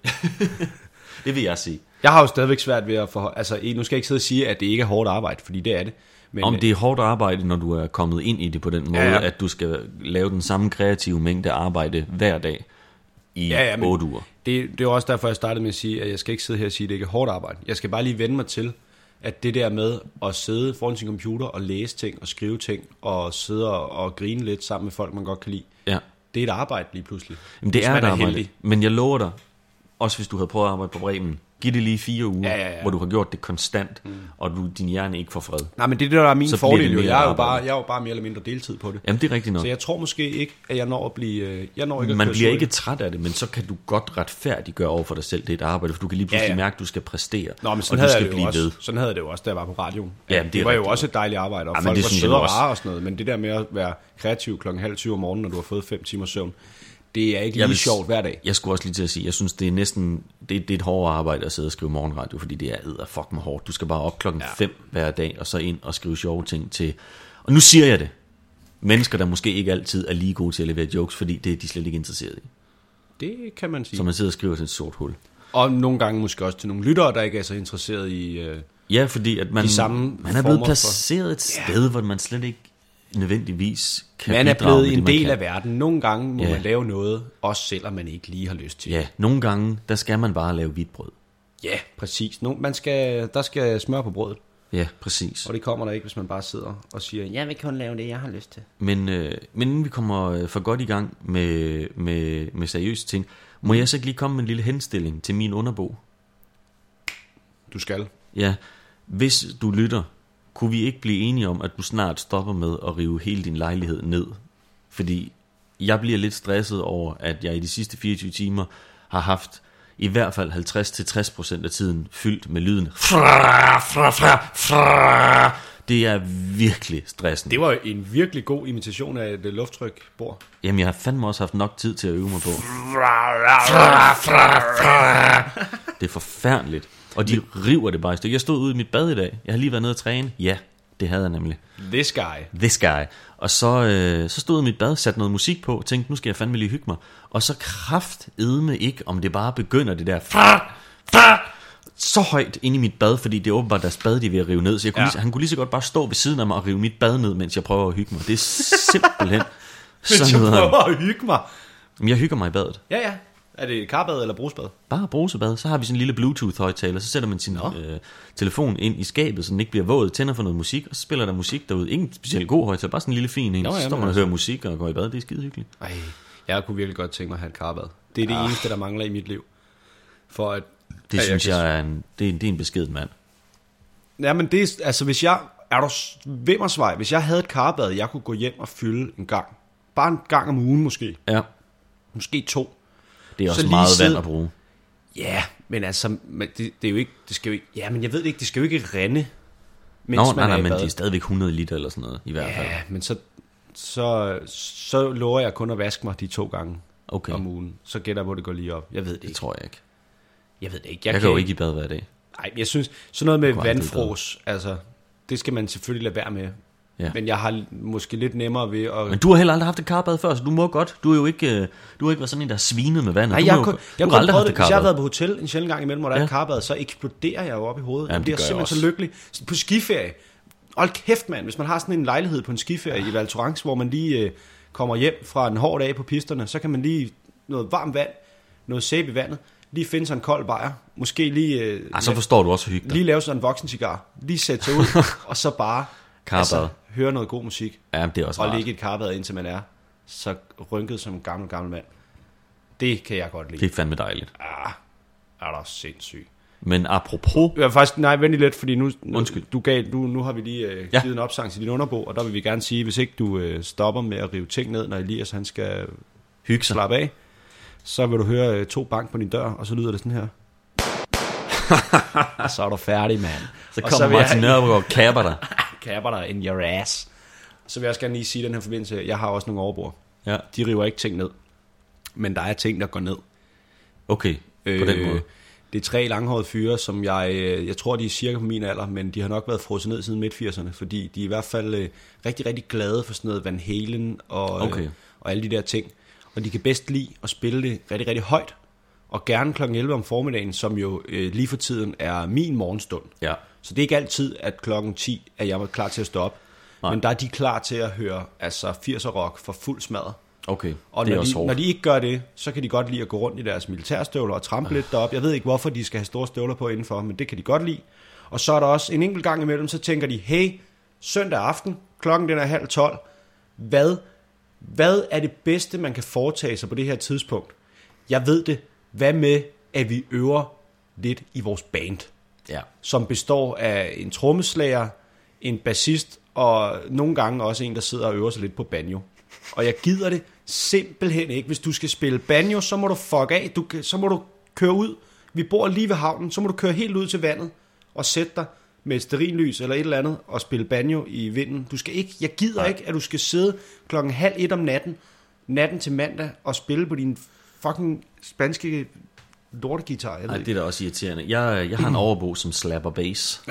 Det vil jeg sige.
Jeg har jo stadigvæk svært ved at forholde... Altså, eh, nu skal jeg ikke sidde og sige, at det ikke er hårdt arbejde, fordi det er det. Men øh,
Om det er hårdt arbejde, når du er kommet ind i det på den måde,
Ja,
ja,
ja.
ja. at du skal lave den samme kreative mængde arbejde hver dag i
Ja,
ja,
ja,
ja,
men-
8 uger.
Det, det er også derfor, jeg startede med at sige, at jeg skal ikke sidde her og sige, at det ikke er hårdt arbejde. Jeg skal bare lige vende mig til, at det der med at sidde foran sin computer og læse ting og skrive ting og sidde og, og grine lidt sammen med folk, man godt kan lide,
Ja.
det er et arbejde lige pludselig.
Jamen, det
hvis
er
man
et arbejde,
heldig.
men jeg lover dig, også hvis du havde prøvet at arbejde på Bremen, giv det lige fire uger,
Ja, ja, ja.
hvor du har gjort det konstant, mm. og du, din hjerne ikke får fred.
Nej, men det er det, der er min
Så bliver
fordel. Jo.
det mere
Jeg, er jo
arbejde.
bare, jeg er jo bare mere eller mindre deltid på det.
Jamen, det er rigtigt nok.
Så jeg tror måske ikke, at jeg når at blive... øh, Jeg når ikke at
Man
køre
bliver
sur i
ikke træt af det, men så kan du godt retfærdiggøre over for dig selv, det er et arbejde, for du kan lige pludselig
Ja,
ja,
ja.
ja. mærke, at du skal præstere,
Nå, men
og
sådan,
du
havde
skal
jeg det jo
blive
også,
ved.
sådan havde jeg det jo også, da jeg var på radioen. det,
Jamen, det
det
er
var jo
rigtigt.
også et dejligt arbejde, og
Jamen,
folk
det
var
synes jeg
søde
nu
og
også.
rare og sådan noget. Men det der med at være kreativ klokken halv 20 om morgenen, når du har fået 5 timer søvn, det er ikke lige
vil-
sjovt hver dag.
Jeg skulle også lige til at sige, jeg synes, det er næsten det, det er et hårdere arbejde at sidde og skrive morgenradio, fordi det er æder fuck mig hårdt. Du skal bare op klokken 5 ja. hver dag, og så ind og skrive sjove ting til... Og nu siger jeg det. mennesker, der måske ikke altid er lige gode til at levere jokes, fordi det er de slet ikke interesseret i.
Det kan man sige.
Så man sidder og skriver til et sort hul.
Og nogle gange måske også til nogle lyttere, der ikke er så interesseret i... Øh,
Ja, fordi at man,
De samme
man er
former
blevet
for-
placeret et sted, hvor man slet ikke nødvendigvis kan
man er
bidrage med
blevet
det,
en
man
del
kan.
af verden. Nogle gange må
Ja.
man lave noget, også selvom man ikke lige har lyst til det.
Ja, nogle gange, der skal man bare lave hvidt brød.
Ja, præcis. No, man skal, der skal smør på brødet,
Ja, præcis.
og det kommer der ikke, hvis man bare sidder og siger, jeg vil kun lave det, jeg har lyst til.
Men, øh, men inden vi kommer øh, for godt i gang med, med, med seriøse ting, må jeg så ikke lige komme med en lille henstilling til min underbog?
Du skal.
Ja, hvis du lytter, kunne vi ikke blive enige om, at du snart stopper med at rive hele din lejlighed ned? Fordi jeg bliver lidt stresset over, at jeg i de sidste 24 timer har haft i hvert fald 50-60% af tiden fyldt med lyden. Fra, fra, fra, fra. Det er virkelig stressende.
Det var en virkelig god imitation af et luftrykbord.
Jamen, jeg har fandme også haft nok tid til at øve mig på. Det er forfærdeligt. Og de river det bare i stykker. Jeg stod ude i mit bad i dag. Jeg har lige været nede og træne. Ja, det havde jeg nemlig.
This guy.
This guy. Og så, øh, så stod jeg i mit bad, satte noget musik på, tænkte, nu skal jeg fandme lige hygge mig. Og så kraft edme ikke, om det bare begynder det der fra, fra, så højt ind i mit bad, fordi det er åbenbart deres bad, de er ved at rive ned. Så jeg kunne
Ja.
ja. lige, så- han kunne lige så godt bare stå ved siden af mig og rive mit bad ned, mens jeg prøver at hygge mig. Det er simpelthen
Hvis jeg
sådan noget.
prøver at hygge mig.
Jamen, Jeg hygger mig i badet.
Ja, ja. Er det karbad eller brusbad?
Bare brusebad. Så har vi sådan en lille Bluetooth-højtaler. Så sætter man sin øh, telefon ind i skabet, så den ikke bliver våd. Tænder for noget musik, og så spiller der musik derude. Ingen specielt god højtaler, bare sådan en lille fin en.
Nå,
Nå, så
jamen,
står man og
altså.
hører musik og går i bad. Det er skide hyggeligt.
Ej, jeg kunne virkelig godt tænke mig at have et karbad. Ah. Det er det eneste, der mangler i mit liv. For at...
Det
at
synes
kan-
jeg er en, det er en, det er en besked, mand.
Ja, men det er, altså hvis jeg, er du s- vimmersvej, hvis jeg havde et karbad, jeg kunne gå hjem og fylde en gang. Bare en gang om ugen måske.
Ja.
Måske to.
Det er
Så
også
lige
meget vand
sidde-
at bruge.
Ja, yeah, men altså, men det, det, er jo ikke, det skal jo ikke, ja, men jeg ved det ikke, det skal jo ikke rende, mens
Nå,
man
nej,
er
nej,
i
men
bad.
det er stadigvæk 100 liter eller sådan noget, i hvert fald.
Ja, men så, så, så lover jeg kun at vaske mig de to gange
Okay,
okay. om ugen. Så gætter jeg på, at det går lige op. Jeg ved det
det
ikke.
tror jeg ikke.
Jeg ved det ikke.
Jeg kan jo ikke i bad hver dag.
Nej, men jeg synes, sådan noget med
kunne aldrig
vandfros, altså, det skal man selvfølgelig lade være med.
Ja.
Men jeg har måske lidt nemmere ved at...
Men du har heller aldrig haft et karbad før, så du må godt. Du er jo ikke, øh, du har ikke været sådan en, der er svinet med vandet.
Nej,
du
jeg,
må
har
jo,
kun,
du
jeg
har
har kun
aldrig
prøvet
haft
det.
et
Hvis jeg har
karbad.
været på hotel en sjældent gang imellem, hvor der ja. er
Ja.
et karbad, så eksploderer jeg jo op i hovedet.
Jamen,
Jamen, jeg bliver
det gør jeg
simpelthen så
også.
lykkelig. På skiferie. Hold kæft, mand. Hvis man har sådan en lejlighed på en skiferie i Val Thorens, hvor man lige øh, kommer hjem fra en hård dag på pisterne, så kan man lige noget varmt vand, noget sæbe i vandet, lige finde sig en kold bajer, måske lige, øh,
Ah, så forstår du også at hygge dig.
lige lave sådan en voksen cigar, lige sætte sig ud, og så bare altså,
Karbad.
høre noget god musik,
Ja, men det er også
og
rart.
ligge i et karbad, indtil man er så rynket som en gammel, gammel mand. Det kan jeg godt lide.
Det er fandme dejligt.
er da sindssyg.
Men apropos,
Ja, faktisk, nej, vent lige lidt, fordi nu, nu-
Undskyld.
Du gav, du, nu har vi lige øh,
Ja.
givet en opsang til din underbog, og der vil vi gerne sige, hvis ikke du øh, stopper med at rive ting ned, når Elias han skal
hygge sig.
slappe af, så vil du høre øh, to bank på din dør, og så lyder det sådan her. og så er du færdig, mand.
Så
Og
kommer
vil
Martin
jeg-
Nørgaard og kapper dig.
Kapper dig in your ass. Så vil jeg også gerne lige sige i den her forbindelse, jeg har også nogle overbord.
Ja,
De river ikke ting ned, men der er ting, der går ned. Øh,
okay. På den måde.
Det er tre langhårede fyre, som jeg, øh, jeg tror, de er cirka på min alder, men de har nok været frosset ned siden midt-80'erne, fordi de er i hvert fald øh, rigtig, rigtig glade for sådan noget Van Halen og, øh,
Okay.
og alle de der ting. Og de kan bedst lide at spille det rigtig, rigtig højt, og gerne kl. 11 om formiddagen, som jo øh, lige for tiden er min morgenstund.
Ja.
Så det er ikke altid, at klokken 10 er jeg klar til at stå op,
Nej.
men der er de klar til at høre altså 80'er rock for fuld smadret.
Okay,
Og
det er
når
også
de, når
hårdt.
de ikke gør det, så kan de godt lide at gå rundt i deres militærstøvler og
Ah.
trampe lidt derop. Jeg ved ikke, hvorfor de skal have store støvler på indenfor, men det kan de godt lide. Og så er der også en enkelt gang imellem, så tænker de, hey, søndag aften, klokken den er halv tolv, hvad, hvad er det bedste, man kan foretage sig på det her tidspunkt? Jeg ved det. Hvad med, at vi øver lidt i vores band?
Ja.
som består af en trommeslager, en bassist og nogle gange også en, der sidder og øver sig lidt på banjo. Og jeg gider det simpelthen ikke. Hvis du skal spille banjo, så må du fuck af. Du, kan- så må du køre ud. Vi bor lige ved havnen, så må du køre helt ud til vandet og sætte dig med et sterinlys eller et eller andet og spille banjo i vinden. Du skal ikke, jeg gider Nej. ikke, at du skal sidde klokken halv et om natten, natten til mandag og spille på din fucking spanske lortegitar. Jeg ved
Ej,
ikke.
det er da også irriterende. Jeg, jeg har en overbo, som slapper bass.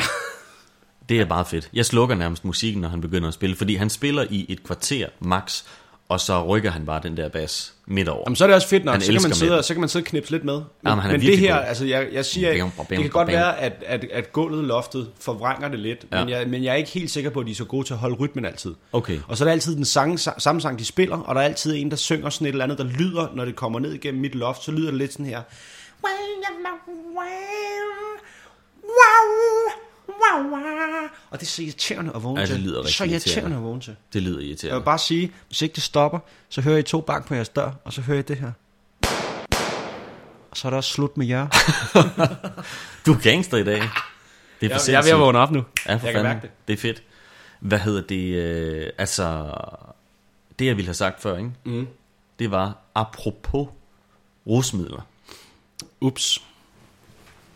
Det er meget fedt. Jeg slukker nærmest musikken, når han begynder at spille, fordi han spiller i et kvarter max, og så rykker han bare den der bas midt over.
Jamen, så er det også fedt nok,
Han
så kan,
elsker
man sidde,
mænd.
og- så kan man sidde og knipse lidt med. Men,
Jamen, han er
men det
virkelig
her,
god.
altså jeg, jeg siger,
Bam,
bam,
bam,
det kan
bam.
godt være, at, at, at gulvet, loftet, forvrænger det lidt, ja. men,
Ja.
jeg, men jeg er ikke helt sikker på, at de er så gode til at holde rytmen altid.
Okay.
Og så er der altid den sang, sa- samme sang, de spiller, og der er altid en, der synger sådan et eller andet, der lyder, når det kommer ned igennem mit loft, så lyder det lidt sådan her.
Wow, wow, wow, wow.
Og det er så irriterende at vågne
Ja, det
til.
lyder
Det er
rigtig
så irriterende
irriterende.
at vågne til.
Det lyder
Jeg vil
irriterende.
bare sige, hvis ikke det stopper, så hører I to bank på jeres dør, og så hører I det her. Og så er det også slut med jer.
Du er gangster i dag. Det er for sindssygt.
vågne op nu.
Ja, for
Jeg
jeg
kan
fanden.
mærke
det. Det er fedt. Hvad hedder det? Øh, altså, det jeg ville have sagt før, ikke? Mm. det var apropos rusmidler.
Ups.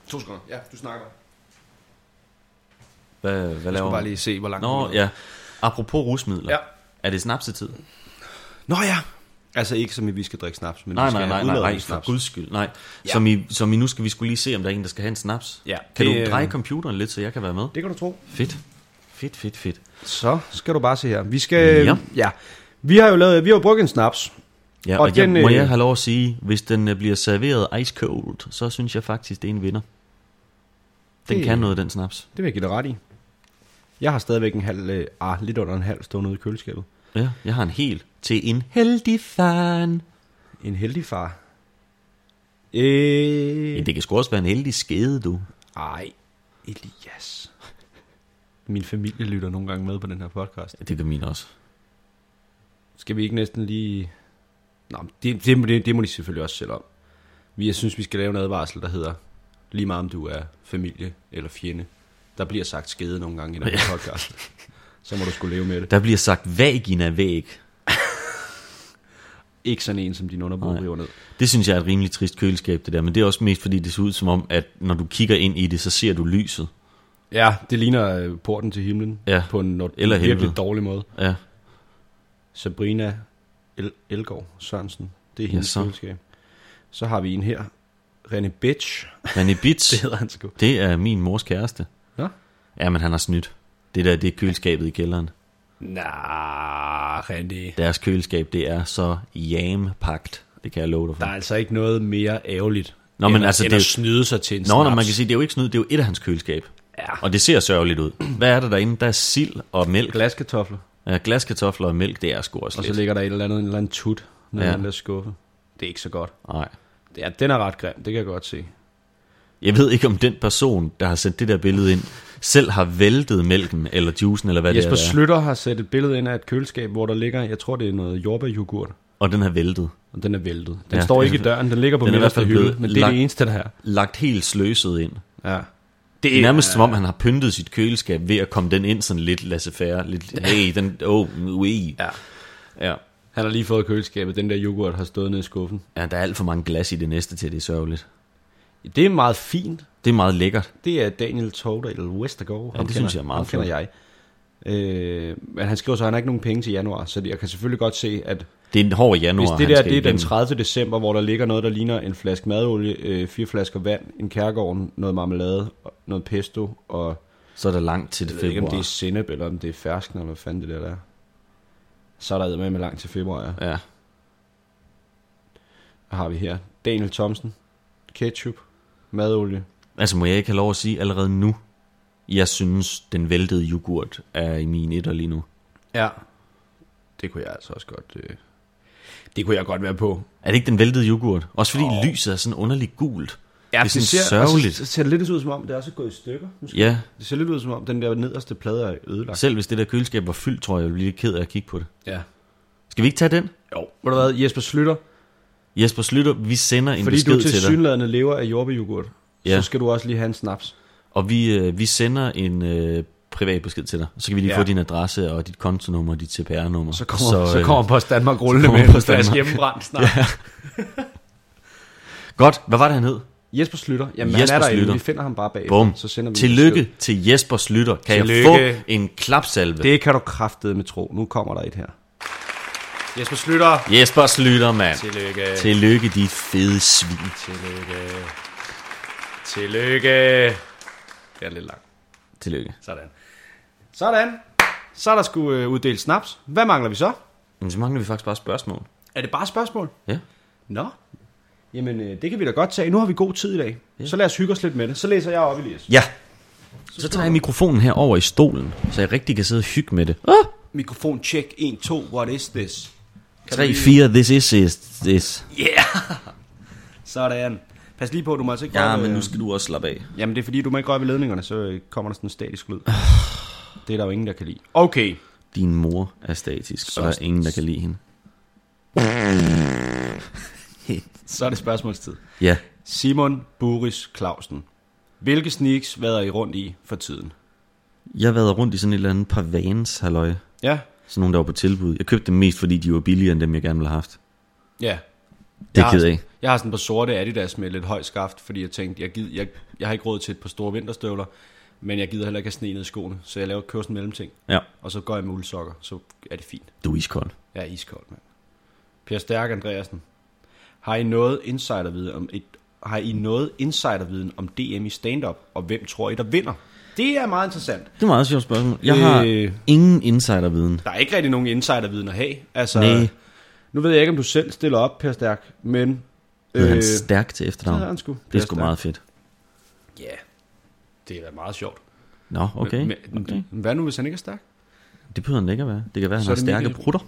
To sekunder. Ja, du snakker.
Hvad, hvad
Jeg
laver
skal bare
man?
lige se, hvor langt
Nå,
den er.
ja. Apropos rusmidler.
Ja.
Er det snapsetid?
Nå ja. Altså ikke som i, vi skal drikke snaps, men
Nej,
vi
nej,
skal
nej, nej,
udlade
nej, for
snaps.
guds skyld. Nej.
Ja.
Ja. Som, I, som I nu skal vi skulle lige se, om der er en, der skal have en snaps.
Ja,
Kan
det,
det,
øh,
du dreje computeren lidt, så jeg kan være med? Det.
Det kan du tro.
Fedt. Fedt, fedt, fedt.
Så skal du bare se her. Vi skal... Ja.
Ja.
ja. Vi har jo lavet, vi har jo brugt en snaps.
Ja,
Og
og, og
den,
jeg, må
øh,
jeg have lov at sige, hvis den øh, bliver serveret ice cold, så synes jeg faktisk, det er en vinder. Den
Det-
kan noget, den snaps.
Det vil jeg give dig ret i. Jeg har stadigvæk en halv, øh, ah, lidt under en halv stående ude i køleskabet.
Ja, jeg har en hel til en heldig fan.
En heldig far. Øh...
Ja, det kan sgu også være en heldig skede, du.
Ej, Elias. Min familie lytter nogle gange med på den her podcast.
Ja, det kan min også.
Skal vi ikke næsten lige... Nå, men det, det, det, det må de selvfølgelig også selv om. Vi, jeg synes, vi skal lave en advarsel, der hedder, lige meget om du er familie eller fjende, der bliver sagt skede nogle gange i den her podcast. Så må du skulle leve med det.
Der bliver sagt vagina væg.
Ikke sådan en, som din underbo
Nej.
river ned.
Det synes jeg er et rimelig trist køleskab, det der. Men det er også mest, fordi det ser ud som om, at når du kigger ind i det, så ser du lyset.
Ja, det ligner øh, porten til himlen
Ja,
på en not-
eller
virkelig
helvede.
dårlig måde.
Ja,
Sabrina El- Elgård Sørensen. Det er
Ja,
hendes
så.
køleskab. Så har vi en her. René Bitch.
René Bitz,
Det hedder han sgu.
det er min mors kæreste.
Nå?
Ja, men han har snydt. Det der, det er køleskabet i kælderen.
Nah, René.
Deres køleskab, det er så jampagt. Det kan jeg love dig for.
Der er altså ikke noget mere ærgerligt,
Nå, men
end,
altså,
end
det-
at snyde sig til en
Nå,
snaps.
nå, man kan sige, det er jo ikke snyd, det er jo et af hans køleskab.
Ja.
Og det ser sørgeligt ud. Hvad er der derinde? Der er sild og mælk.
Glaskartofler.
Ja, glaskartofler og mælk, det er sgu også
Og så
lidt.
ligger der et eller andet, en eller anden tut, når ja.
Ja.
den der skuffe. Det er ikke så godt.
Nej.
Ja, den er ret grim, det kan jeg godt se.
Jeg ved ikke, om den person, der har sendt det der billede ind, selv har væltet mælken eller juicen, eller hvad
Jesper
det er, der er.
Slytter har sat et billede ind af et køleskab, hvor der ligger, jeg tror det er noget jordbærjoghurt,
Og den har væltet.
og den er væltet. Den ja,
Ja,
står
det er
ikke i
selvfølgelig-
døren, den ligger på
Den er i hvert
midterste
fald
hylde,
blevet
men det er det
lagt-
eneste, der er.
Lagt helt sløset ind.
Ja.
Det er nærmest som om, han har pyntet sit køleskab ved at komme den ind sådan lidt laissez-faire. Lidt, hey, den, oh, ui.
Ja.
ja.
Han har lige fået køleskabet, den der yoghurt har stået nede i skuffen.
Ja, der er alt for mange glas i det næste til, det er sørgeligt.
Det er meget fint.
Det er meget lækkert.
Det er Daniel Tordal Westergaard.
det synes jeg er meget
ham kender jeg. Øh, men han skriver så, at han har ikke nogen penge til januar, så jeg kan selvfølgelig godt se, at
Det er en hård januar,
hvis det
han
der
skal
det er den
igennem.
30. december, hvor der ligger noget, der ligner en flaske madolie, øh, fire flasker vand, en kærgården, noget marmelade, og noget pesto, og
Så er der langt til
jeg ved ikke, om
februar.
det er sennep, eller om det er fersken, eller hvad fanden det der er. Så er der med med langt til februar, ja.
Ja.
Hvad har vi her? Daniel Thomsen, ketchup, madolie.
Altså må jeg ikke have lov at sige allerede nu, jeg synes, den væltede yoghurt er i min etter lige nu.
Ja. Det kunne jeg altså også godt... Øh, det kunne jeg godt være på.
Er det ikke den væltede yoghurt? Også fordi oh. lyset er sådan underligt gult. Ja, det er sådan
ser,
sørgeligt.
Det ser det lidt ud som om, det er også gået i stykker. Måske.
Ja,
Det ser lidt ud som om, den der nederste plade er ødelagt.
selv hvis det der køleskab var fyldt, tror jeg, jeg ville blive lidt ked af at kigge på det.
Ja.
Skal vi ikke tage den?
Jo, ved du hvad, Jesper Slytter,
Jesper Slytter, vi sender en
fordi
besked
du
til,
til
til dig,
synlædende lever af jordbejoghurt, ja.
Ja.
så skal du også lige have en snaps.
og vi, øh, vi sender en øh, privat besked til dig. Så kan vi lige
Ja.
ja. få din adresse og dit kontonummer og dit CPR-nummer.
Så kommer, så, så
øh,
kommer Post Danmark rullende
så kommer
med en
Post
flaske
Danmark.
hjemmebrændt snart. Ja.
Godt, hvad var det, han hed?
Jesper Slytter, jamen
Jesper
han er derinde,
Slytter.
vi finder ham bare bag.
Bum.
Så sender vi en
Mm, Tillykke
besked.
til Jesper Slytter. Kan
Tillykke.
jeg få en klapsalve?
Det kan du kraftede med tro. Nu kommer der et her. Jesper Slytter.
Jesper Slytter, mand.
Tillykke.
Tillykke, de fede svin.
Tillykke. Tillykke. Det er lidt langt.
Tillykke.
Sådan. Sådan. Så er der skulle øh, uddele snaps. Hvad mangler vi så?
Men så mangler vi faktisk bare spørgsmål.
Er det bare spørgsmål?
Ja.
Nå. Jamen, øh, det kan vi da godt tage. Nu har vi god tid i dag. Så lad os hygge os lidt med det. Så læser jeg op, Elias.
Ja. Så tager jeg mikrofonen her over i stolen, så jeg rigtig kan sidde og hygge med det. Ah!
Mikrofon check 1, 2, what is this?
3, 4, this is this. this.
Yeah! Sådan. Pas lige på, du må altså ikke
Ja,
røre ved-
men nu skal du også slappe af.
Jamen, det er fordi, du må ikke røre ved ledningerne, så øh, kommer der sådan en statisk lyd. Det er der jo ingen, der kan lide. Okay.
Din mor er statisk, så og der er ingen, der kan lide hende.
Så er det spørgsmålstid.
Ja.
Simon Buris Clausen. Hvilke sneaks vader I rundt i for tiden?
Jeg har været rundt i sådan et eller andet par vans, halløj.
Ja.
Sådan nogle, der var på tilbud. Jeg købte dem mest, fordi de var billigere end dem, jeg gerne ville have haft.
Ja.
Det er
har
jeg ked af.
sådan- Jeg har sådan på sorte Adidas med lidt høj skaft, fordi jeg tænkte, jeg, gid, jeg, jeg har ikke råd til et par store vinterstøvler, men jeg gider heller ikke have sne ned i skoene, så jeg laver kører sådan en mellemting,
Ja,
og så går jeg med uldsokker, så er det fint.
du er iskold.
Jeg er iskold, mand. Per Stærk Andreasen. Har I noget insiderviden om et, har I noget insiderviden om DM i stand-up, og hvem tror I, der vinder? Det er meget interessant.
Det er et meget sjovt spørgsmål. Jeg har
Øh.
ingen insiderviden.
Der er ikke rigtig nogen insiderviden at have. Altså,
Nej.
Nu ved jeg ikke, om du selv stiller op, Per Stærk, men... øh,
Hedder han stærk til efternavn?
det hedder han sgu.
Det er
Per
sgu
Stærk.
meget fedt.
Ja, det er da meget sjovt.
Nå, okay.
Men,
okay.
men, hvad nu, hvis han ikke er stærk?
Det behøver han da ikke at være. Det kan være, han
Så
har
er det
stærke
Mikkel-
brutter.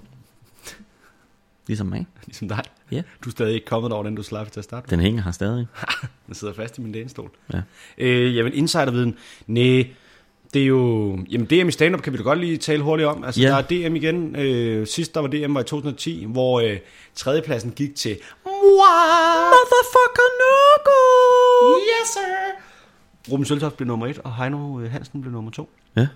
Ligesom mig.
Ligesom dig.
Ja.
Du er stadig ikke kommet over den, du slap til at starte. med.
Den hænger her stadig.
Den sidder fast i min lænestol.
Ja.
Øh, jamen, insiderviden. Nej, det er jo... Jamen, DM i stand-up kan vi da godt lige tale hurtigt om. Altså,
Ja.
der er DM igen. Øh, sidst der var DM var i 2010, hvor øh, tredjepladsen gik til... Mwah!
Motherfucker Nogo! Yes, sir!
Ruben Søltoft blev nummer et, og Heino øh, Hansen blev nummer to.
Ja.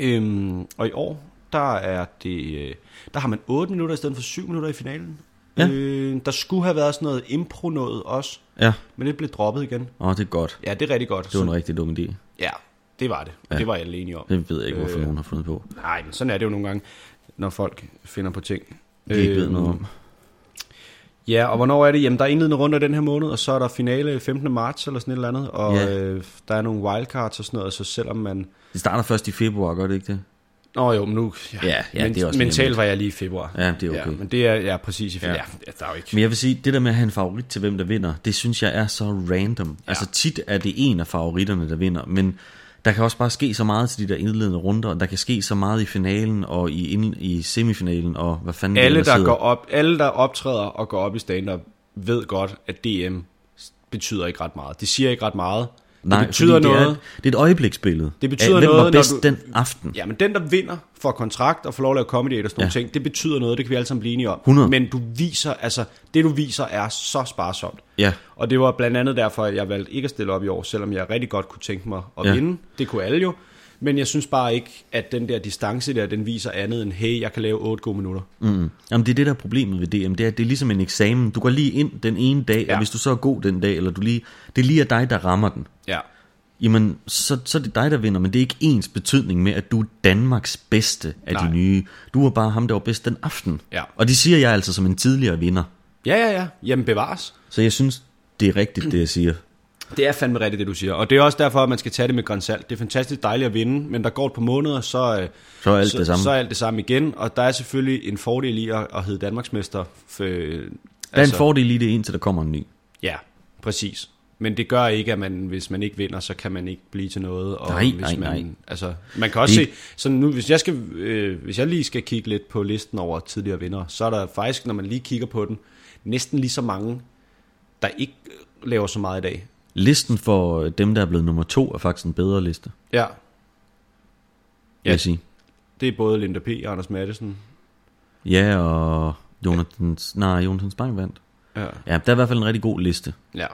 Øhm, og i år, der er det, øh, der har man 8 minutter i stedet for 7 minutter i finalen.
Ja.
Øh, der skulle have været sådan noget impro noget også,
Ja.
men det blev droppet igen.
Åh, det er godt.
Ja, det er rigtig godt.
Det var en rigtig dum idé.
Ja, det var det. Ja. Det var jeg alene om.
Det ved jeg ikke, hvorfor
Øh.
øh. nogen har fundet på.
Nej, men sådan er det jo nogle gange, når folk finder på ting. Øhm,
Det ikke ved
Øh.
noget om.
Ja, og hvornår er det? Jamen, der er indledende runde den her måned, og så er der finale 15. marts eller sådan et eller andet, og
Ja.
øh, der er nogle wildcards og sådan noget, så selvom man...
Det starter først i februar, gør det ikke det?
Nå jo, men nu... Ja,
Ja, ja,
men,
det er også
mentalt
nemt.
var jeg lige i februar.
Ja, det er okay.
Ja, men det er ja, præcis i februar. Ja.
Ja.
ja, der er jo ikke...
Men jeg vil sige, det der med at have en favorit til, hvem der vinder, det synes jeg er så random. Ja. Altså tit er det en af favoritterne, der vinder, men der kan også bare ske så meget til de der indledende runder, og der kan ske så meget i finalen og i, ind, i semifinalen, og hvad fanden
alle,
det
der
sidder.
går op, alle, der optræder og går op i stand-up, ved godt, at DM betyder ikke ret meget. Det siger ikke ret meget.
Nej,
det betyder
fordi
noget.
Det er, et- det er et øjebliksbillede.
Det betyder
af, hvem
noget,
var
når
bedst
du-
den aften.
Ja, men den, der vinder, får kontrakt og får lov at lave comedy og sådan nogle ja. ting, det betyder noget, det kan vi alle sammen blive enige om.
100.
Men du viser, altså, det du viser er så sparsomt.
Ja.
Og det var blandt andet derfor, at jeg valgte ikke at stille op i år, selvom jeg rigtig godt kunne tænke mig at ja.
Ja.
vinde. Det kunne alle jo. Men jeg synes bare ikke, at den der distance der, den viser andet end, hey, jeg kan lave 8 gode minutter.
Mm. Jamen det er det der er problemet ved DM, det er, at det er ligesom en eksamen. Du går lige ind den ene dag, ja.
Ja.
og hvis du så er god den dag, eller du lige, det er lige er dig, der rammer den.
Ja.
Jamen, så, så er det dig, der vinder, men det er ikke ens betydning med, at du er Danmarks bedste af
Nej.
de nye. Du er bare ham, der var bedst den aften.
Ja.
Og det siger jeg altså som en tidligere vinder.
Ja, ja, ja. Jamen bevares.
Så jeg synes, det er rigtigt, det jeg siger.
Det er fandme rigtigt, det du siger. Og det er også derfor, at man skal tage det med grænsalt. Det er fantastisk dejligt at vinde, men der går et par måneder, så, øh,
Så er alt
så,
det samme.
så er alt det samme igen. Og der er selvfølgelig en fordel i at, at hedde Danmarksmester. For, øh,
Der er en fordel i det, indtil der kommer en ny.
Ja, præcis. Men det gør ikke, at man, hvis man ikke vinder, så kan man ikke blive til noget. Og
Nej,
hvis
nej,
man,
nej.
Altså, man kan også
Det-
se, så nu, hvis, jeg skal, øh, hvis jeg lige skal kigge lidt på listen over tidligere vinder, så er der faktisk, når man lige kigger på den, næsten lige så mange, der ikke øh, laver så meget i dag.
Listen for øh, dem, der er blevet nummer to, er faktisk en bedre liste, vil
Ja, Ja.
ja. jeg sige.
det er både Linda P. og Anders Madsen.
Ja, og Jonathan, nej, Jonathan Spang vandt.
Ja.
Ja, der er i hvert fald en rigtig god liste.
ja.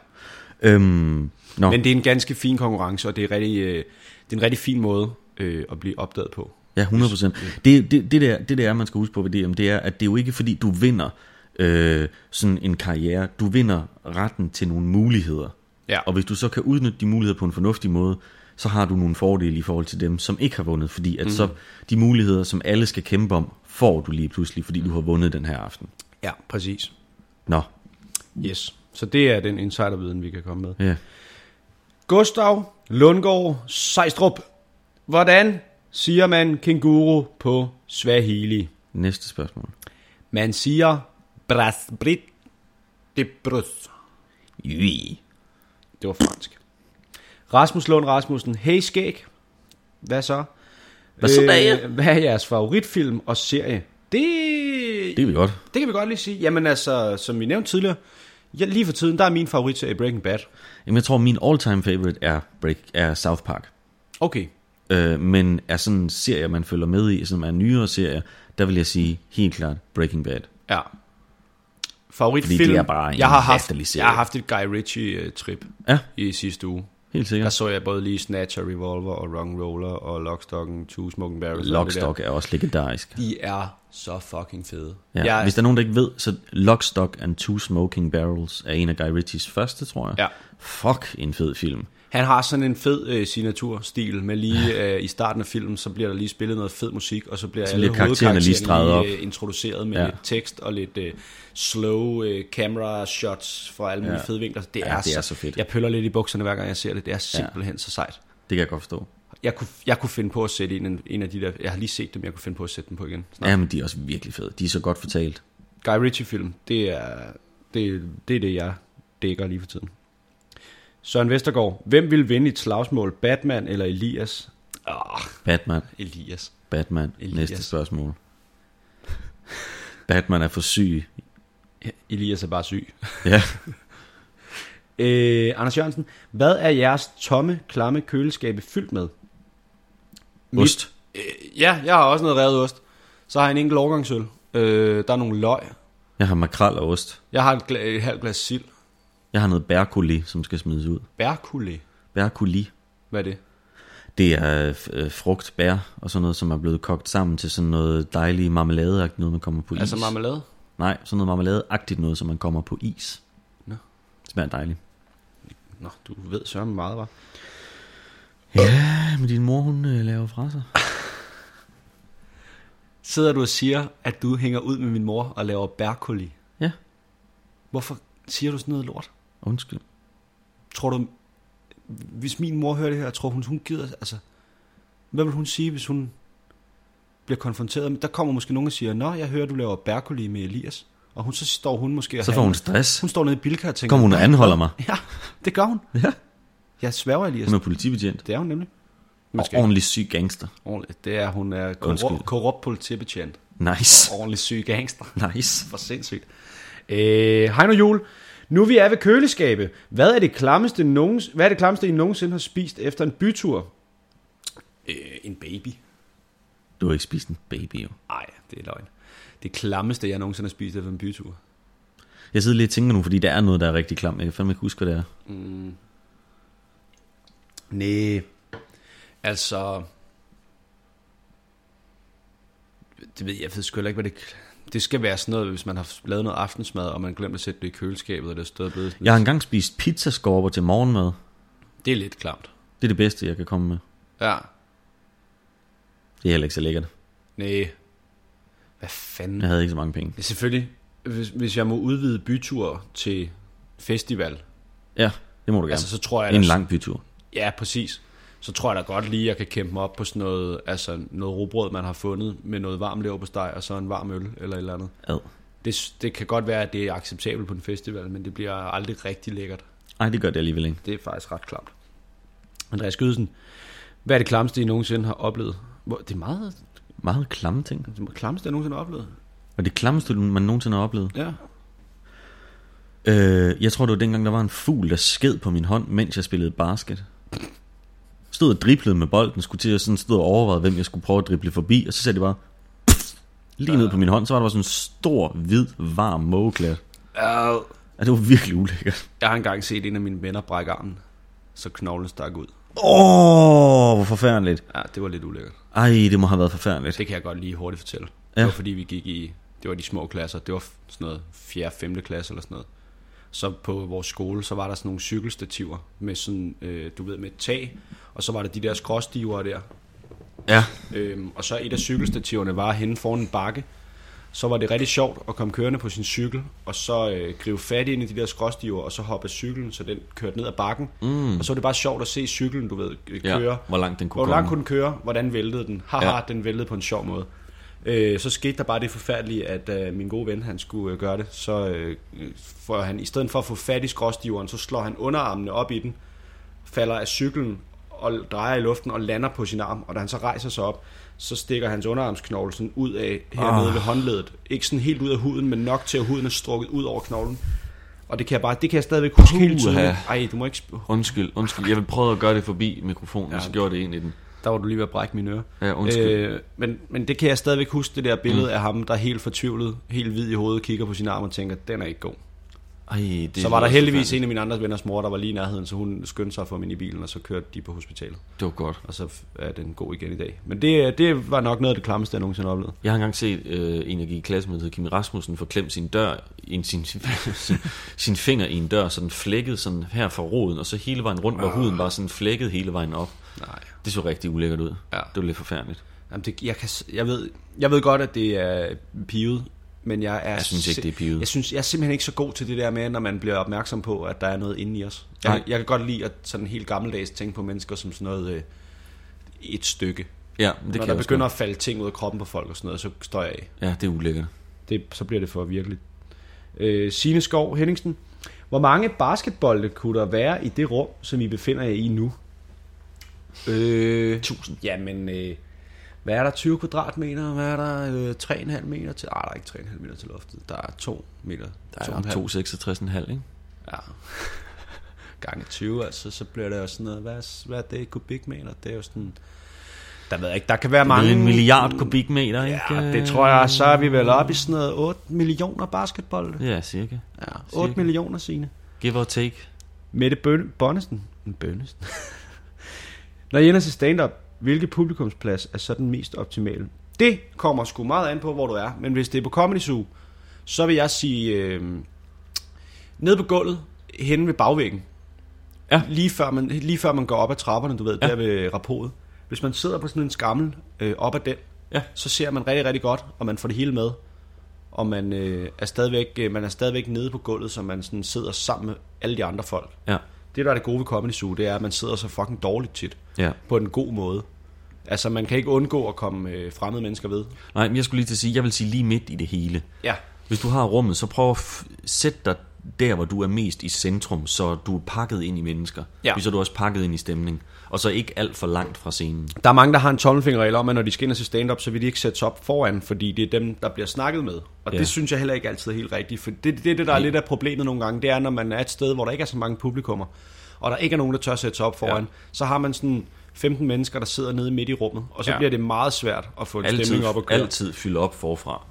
Øhm, nå,
Men det er en ganske fin konkurrence, og det er, rigtig, øh, det er en rigtig fin måde øh, at blive opdaget på.
Ja, 100 procent. Det, det, det, der, det der, man skal huske på ved DM, det er, at det er jo ikke fordi, du vinder øh, sådan en karriere. Du vinder retten til nogle muligheder.
Ja.
Og hvis du så kan udnytte de muligheder på en fornuftig måde, så har du nogle fordele i forhold til dem, som ikke har vundet. Fordi at mm. så de muligheder, som alle skal kæmpe om, får du lige pludselig, fordi du har vundet den her aften.
Ja, præcis.
Nå,
Yes. Så det er den insiderviden, vi kan komme med.
ja.
Gustav Lundgaard Sejstrup. Hvordan siger man kenguru på Swahili?
Næste spørgsmål.
Man siger brasbrit de brus. Oui. Det var fransk. Rasmus Lund Rasmussen. Hey skæg. Hvad så? Øh,
Hvad så, Dage?
Hvad er jeres favoritfilm og serie? Det,
Det er vi godt.
det kan vi godt lige sige. Jamen altså, som vi nævnte tidligere, ja, lige for tiden, der er min favoritserie Breaking Bad.
Jamen, jeg tror, min all-time favorite er, Break, er South Park.
Okay.
Øh, men er sådan serier, man følger med i, som er nyere serier, der vil jeg sige helt klart Breaking Bad.
Ja.
Fordi
Favoritfilm.
det er bare en
jeg har haft,
latterlig serie.
jeg har haft et Guy Ritchie-trip
Ja,
i sidste uge.
helt
Der
sikkert.
så jeg både lige Snatcher, Revolver og Wrong Roller og Lockstocken, Two Smoking Barrels. og alt det der.
Lockstock er også legendarisk.
De er så fucking fede.
Ja.
jeg,
Hvis der er nogen, der ikke ved, så Lockstock and Two Smoking Barrels er en af Guy Ritchies første, tror jeg.
Ja.
Fuck, en fed film.
Han har sådan en fed øh, signaturstil, men lige øh, i starten af filmen, så bliver der lige spillet noget fed musik, og så bliver alle
bliver karaktererne lige streget op.
lige, øh, introduceret med ja.
Ja.
lidt tekst og lidt øh, slow øh, camera shots fra alle mulige ja. fede vinkler. Det, ja, er,
det er så fedt.
Jeg pøller lidt i bukserne, hver gang jeg ser det. Det er simpelthen ja. så sejt.
Det kan jeg godt forstå.
Jeg kunne, jeg kunne finde på at sætte en, en af de der... Jeg har lige set dem, jeg kunne finde på at sætte dem på igen.
Ja, men de er også virkelig fede. De er så godt fortalt.
Guy Ritchie-film, det er det, det er det, jeg dækker lige for tiden. Søren Vestergaard, hvem vil vinde i et slagsmål, Batman eller Elias? Ah,
Batman,
Elias.
Batman,
Elias.
Elias. næste spørgsmål. Batman er for syg.
Elias er bare syg.
Ja,
Øh, Anders Jørgensen, hvad er jeres tomme, klamme køleskabe fyldt med? Mit-
ost.
Øh, ja, jeg har også noget revet ost. Så har jeg en enkelt årgangsøl. Øh, der er nogle løg.
Jeg har makrel og ost.
Jeg har et, gla- et halvt glas sild.
Jeg har noget bærkuli, som skal smides ud.
Bærkulé.
Bærkuli,
Hvad er det?
det er øh, frugt, bær og sådan noget, som er blevet kogt sammen til sådan noget dejlig marmelade noget, man kommer på is.
Altså marmelade?
Nej, sådan noget marmelade-agtigt noget, som man kommer på is.
Nå.
Det smager dejligt.
Nå, du ved sørme meget, var.
Ja, men din mor, hun øh, laver fra sig.
Sidder du og siger, at du hænger ud med min mor og laver bærkulé?
Ja,
Hvorfor siger du sådan noget lort?
undskyld.
Tror du, hvis min mor hører det her, tror hun, hun gider, altså, hvad vil hun sige, hvis hun bliver konfronteret? med- Der kommer måske nogen og siger, nå, jeg hører, du laver bærkoli med Elias. Og hun, så står hun måske og
Så får hun
handler.
stress.
hun står nede i Bilka og tænker,
Kommer hun og anholder mig.
Ja, det gør hun.
Ja.
Jeg sværger, Elias.
Hun er politibetjent.
Det er hun nemlig.
Og
Måske.
ordentlig syg gangster.
Ordentligt. Det er, hun er
Undskyld.
korrupt, korrupt politibetjent.
Nice.
Ordentlig syg gangster.
Nice.
For sindssygt. Øh, hej nu, Jul. Nu vi er ved køleskabe. Hvad er det klammeste, nogens, hvad er det klammeste I nogensinde har spist efter en bytur? Øh, en baby.
Du har ikke spist en baby, jo.
Nej, det er løgn. Det klammeste, jeg nogensinde har spist efter en bytur.
Jeg sidder lige og tænker nu, fordi der er noget, der er rigtig klamt. Jeg kan fandme ikke huske, hvad det er.
Nej. Altså... Det ved jeg, jeg ved sgu heller ikke, hvad det... Det skal være sådan noget, hvis man har lavet noget aftensmad, og man glemte at sætte det i køleskabet, og det er stadig blevet...
Jeg har engang spist pizzaskorper til morgenmad.
Det er lidt klamt.
Det er det bedste, jeg kan komme med.
Ja.
Det er heller ikke så lækkert.
Nej. Hvad fanden?
Jeg havde ikke så mange penge.
Ja, Selvfølgelig. Hvis, hvis jeg må udvide bytur til festival, ja.
Ja, det må du gerne.
altså, så tror jeg...
en
da-
lang bytur.
Ja, præcis. Så tror jeg da godt lige, jeg kan kæmpe mig op på sådan noget, altså noget robrød, man har fundet, med noget varm lever på steg, og så en varm øl, eller et eller andet.
Ad.
Det, det kan godt være, at det er acceptabelt på en festival, men det bliver aldrig rigtig lækkert.
Ej, det gør det alligevel ikke.
Det er faktisk ret klamt. Andreas Gødsen, hvad er det klamste, I nogensinde har oplevet? Hvor, det er meget
Meget klamme ting.
det er klamste, jeg nogensinde har oplevet.
Og det klammeste, man nogensinde har oplevet.
Ja.
Øh, jeg tror, det var dengang, der var en fugl, der sked på min hånd, mens jeg spillede basket. Stod og driblede med bolden, skulle til at sådan stå og overveje, hvem jeg skulle prøve at drible forbi, og så sagde det bare... Lige ned på min hånd, så var der bare sådan en stor, hvid, varm mågeklat.
Uh,
Ja, det var virkelig ulækkert.
jeg har engang set en af mine venner brække armen, så knoglen stak ud.
Åh, oh, hvor forfærdeligt.
Ja, det var lidt ulækkert.
Ej, det må have været forfærdeligt.
Det kan jeg godt lige hurtigt fortælle. Ja.
Ja.
Det var fordi, vi gik i, det var de små klasser, det var f- sådan noget 4. 5. klasse eller sådan noget. Så på vores skole, så var der sådan nogle cykelstativer med sådan, øh, du ved, med et tag, og så var der de der skråstiver der.
Ja,
Øhm, og så et af cykelstativerne var henne foran en bakke, så var det rigtig sjovt at komme kørende på sin cykel, og så øh, gribe fat ind i de der skråstiver, og så hoppe af cyklen, så den kørte ned ad bakken. Mm. Og så var det bare sjovt at se cyklen, du ved, øh,
Ja,
køre.
hvor langt den kunne
Hvor langt
komme.
kunne den køre? Hvordan væltede den? Haha,
Ja.
ja. den væltede på en sjov måde. Øh, så skete der bare det forfærdelige, at øh, min gode ven, han skulle øh, gøre det, så øh, får han, i stedet for at få fat i skråstiveren, så slår han underarmene op i den, falder af cyklen og drejer i luften og lander på sin arm, og da han så rejser sig op, så stikker hans underarmsknogle sådan ud af hernede
Ah.
oh. ved håndledet. Ikke sådan helt ud af huden, men nok til at huden er strukket ud over knoglen. Og det kan jeg bare, det kan jeg stadigvæk huske helt
Puha.
tydeligt. Ej, du må ikke, sp-
Undskyld, undskyld. Jeg vil prøve at gøre det forbi mikrofonen, ja. så gjorde jeg det ind i den.
der var du lige ved at brække mine ører.
Ja, undskyld.
Øh, men, men det kan jeg stadigvæk huske, det der billede mm. af ham, der er helt fortvivlet, helt hvid i hovedet, kigger på sin arm og tænker, den er ikke god.
Ej, det
Så var der
lyder
heldigvis
forfærdeligt.
en af mine andres venners mor, der var lige i nærheden, så hun skyndte sig at få ham ind i bilen, og så kørte de på hospitalet.
Det var godt.
Og så er den god igen i dag. Men det, øh, det var nok noget af det klammeste, jeg nogensinde har oplevet.
Jeg har engang set øh, en, jeg gik i klasse med, der hed Kimi Rasmussen, forklemme sin dør, en, sin, sin, sin finger i en dør, så den flækkede sådan her fra roden, og så hele vejen rundt, hvor
Ah.
huden var sådan flækket hele vejen op.
Nej.
Det så rigtig ulækkert ud.
Ja.
Det var lidt forfærdeligt.
Jamen det, jeg, kan, s- jeg, ved, jeg ved godt, at det er pivet, men jeg er...
Jeg synes ikke,
si-
det er pivet.
Jeg, synes, jeg er simpelthen ikke så god til det der med, når man bliver opmærksom på, at der er noget inde i os. Jeg,
Nej.
jeg kan godt lide at sådan helt gammeldags tænke på mennesker som sådan noget øh, et stykke.
Ja, men det
Det når
kan jeg
der
også
begynder
godt.
at falde ting ud af kroppen på folk og sådan noget, så står jeg af.
Ja, det er ulækkert.
Det, så bliver det for virkelig. Øh, Signe Skov Henningsen. Hvor mange basketbolde kunne der være i det rum, som I befinder jer i nu? Øh, 1000. Jamen, øh, hvad er der? 20 kvadratmeter? Hvad er der? Øh, 3,5 meter til... Ah, der er ikke 3,5 meter til loftet. Der er 2 meter.
Der er
2,5.
266,5, ikke?
Ja. Gange 20, altså, så bliver det jo sådan noget... Hvad, er- hvad er det? Kubikmeter? Det er jo sådan... Der ved jeg ikke, der kan være mange...
Mange... En milliard kubikmeter, ikke?
Ja, det tror jeg, så er vi vel oppe i sådan noget 8 millioner basketbolde.
Ja, cirka.
Ja, 8
Cirka.
millioner, sine.
Give or take.
Mette Bøn- Bonnesen. En Bønnesen. Når I ender til stand-up, hvilken publikumsplads er så den mest optimale? Det kommer sgu meget an på, hvor du er. Men hvis det er på Comedy Zoo, så vil jeg sige... Øh, nede på gulvet, hen ved bagvæggen.
Ja.
Lige, før man, lige før man går op ad trapperne, du ved, ja.
Ja.
der ved rapportet. Hvis man sidder på sådan en skammel øh, op ad den,
Ja.
så ser man rigtig, rigtig godt, og man får det hele med. Og man, øh, er stadigvæk, øh, man er stadigvæk nede på gulvet, så man sådan sidder sammen med alle de andre folk.
Ja.
Det, der er det gode ved Comedy Zoo, det er, at man sidder så fucking dårligt tit.
Ja.
På en god måde. Altså, man kan ikke undgå at komme øh, fremmede mennesker ved.
Nej, men jeg skulle lige til at sige, jeg vil sige lige midt i det hele.
Ja.
Hvis du har rummet, så prøv at f- sætte dig der, hvor du er mest i centrum, så du er pakket ind i mennesker.
Ja.
Så er du også pakket ind i stemning. Og så ikke alt for langt fra scenen.
Der er mange, der har en tommelfingerregel om, at når de skal ind og se stand-up, så vil de ikke sætte sig op foran, fordi det er dem, der bliver snakket med. Og ja.
Ja.
det synes jeg heller ikke altid er helt rigtigt. For det, det er det, der er lidt af problemet nogle gange. Det er, når man er et sted, hvor der ikke er så mange publikummer, og der ikke er nogen, der tør sætte sig op foran, ja. så har man sådan 15 mennesker, der sidder nede midt i rummet, og så ja.
Ja.
bliver det meget svært at få en
Altid,
stemning op og køre.
altid fylde op forfra.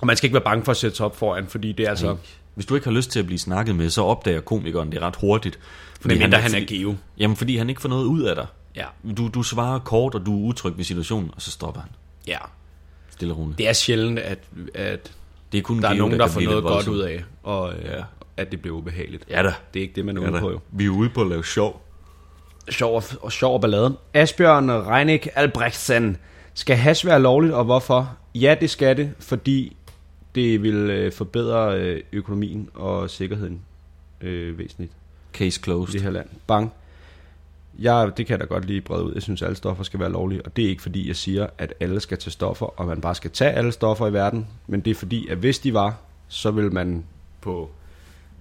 Og man skal ikke være bange for at sætte sig op foran, fordi det er altså...
Så. Hvis du ikke har lyst til at blive snakket med, så opdager komikeren det ret hurtigt. Fordi
Medmindre han er
fordi-
geo.
Jamen, fordi han ikke får noget ud af dig.
Ja.
Du, du svarer kort, og du er utryg ved situationen, og så stopper han.
Ja.
Stille og roligt.
Det er sjældent, at, at
Det er kun
der er
Geo,
nogen, der
kan
får
blive
noget
lidt
godt
voldsom.
ud af, og øh, ja.
Ja.
at det bliver ubehageligt.
Ja da.
Det er ikke det, man er
Ja
ude
da.
på jo.
Vi er ude på at lave sjov.
Sjov og, og sjov og ballade. Asbjørn Reinik Albrechtsen. Skal hash være lovligt, og hvorfor? Ja, det skal det, fordi det vil øh, forbedre øh, økonomien og sikkerheden øh, væsentligt
Case
i
closed.
det her land. Bang. Jeg, det kan jeg da godt lige brede ud. Jeg synes, alle stoffer skal være lovlige, og det er ikke fordi, jeg siger, at alle skal tage stoffer, og man bare skal tage alle stoffer i verden, men det er fordi, at hvis de var, så vil man på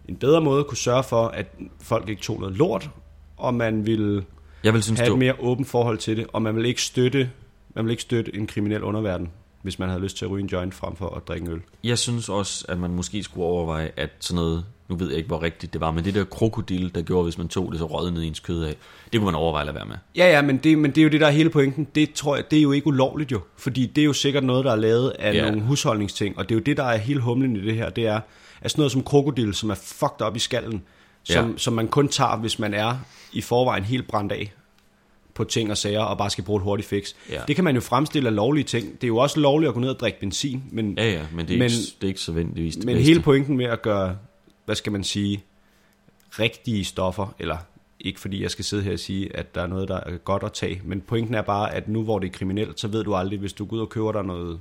en bedre måde kunne sørge for, at folk ikke tog noget lort, og man ville
Jeg vil synes,
have
det
et
var
mere åbent forhold til det, og man vil ikke støtte, man vil ikke støtte en kriminel underverden, hvis man havde lyst til at ryge en joint frem for at drikke en øl.
Jeg synes også, at man måske skulle overveje, at sådan noget, nu ved jeg ikke, hvor rigtigt det var, men det der krokodil, der gjorde, hvis man tog det, så rød ned i ens kød af, det kunne man overveje at lade være med.
Ja, ja, men det, men det er jo det, der er hele pointen. Det tror jeg, det er jo ikke ulovligt jo, fordi det er jo sikkert noget, der er lavet af ja.
Ja.
nogle husholdningsting, og det er jo det, der er hele humlen i det her, det er, at sådan noget som krokodil, som er fucked op i skallen, som, ja.
Ja.
som man kun tager, hvis man er i forvejen helt brændt af på ting og sager, og bare skal bruge et hurtigt fix. Ja.
Ja.
Det kan man jo fremstille af lovlige ting. Det er jo også lovligt at gå ned og drikke benzin, men,
Ja, ja, men det
Men-
er, men, ikke, det er ikke så vendigvis det
men
bedste.
hele pointen med at gøre, hvad skal man sige, rigtige stoffer, eller ikke fordi jeg skal sidde her og sige, at der er noget, der er godt at tage, men pointen er bare, at nu hvor det er kriminelt, så ved du aldrig, hvis du går ud og køber dig noget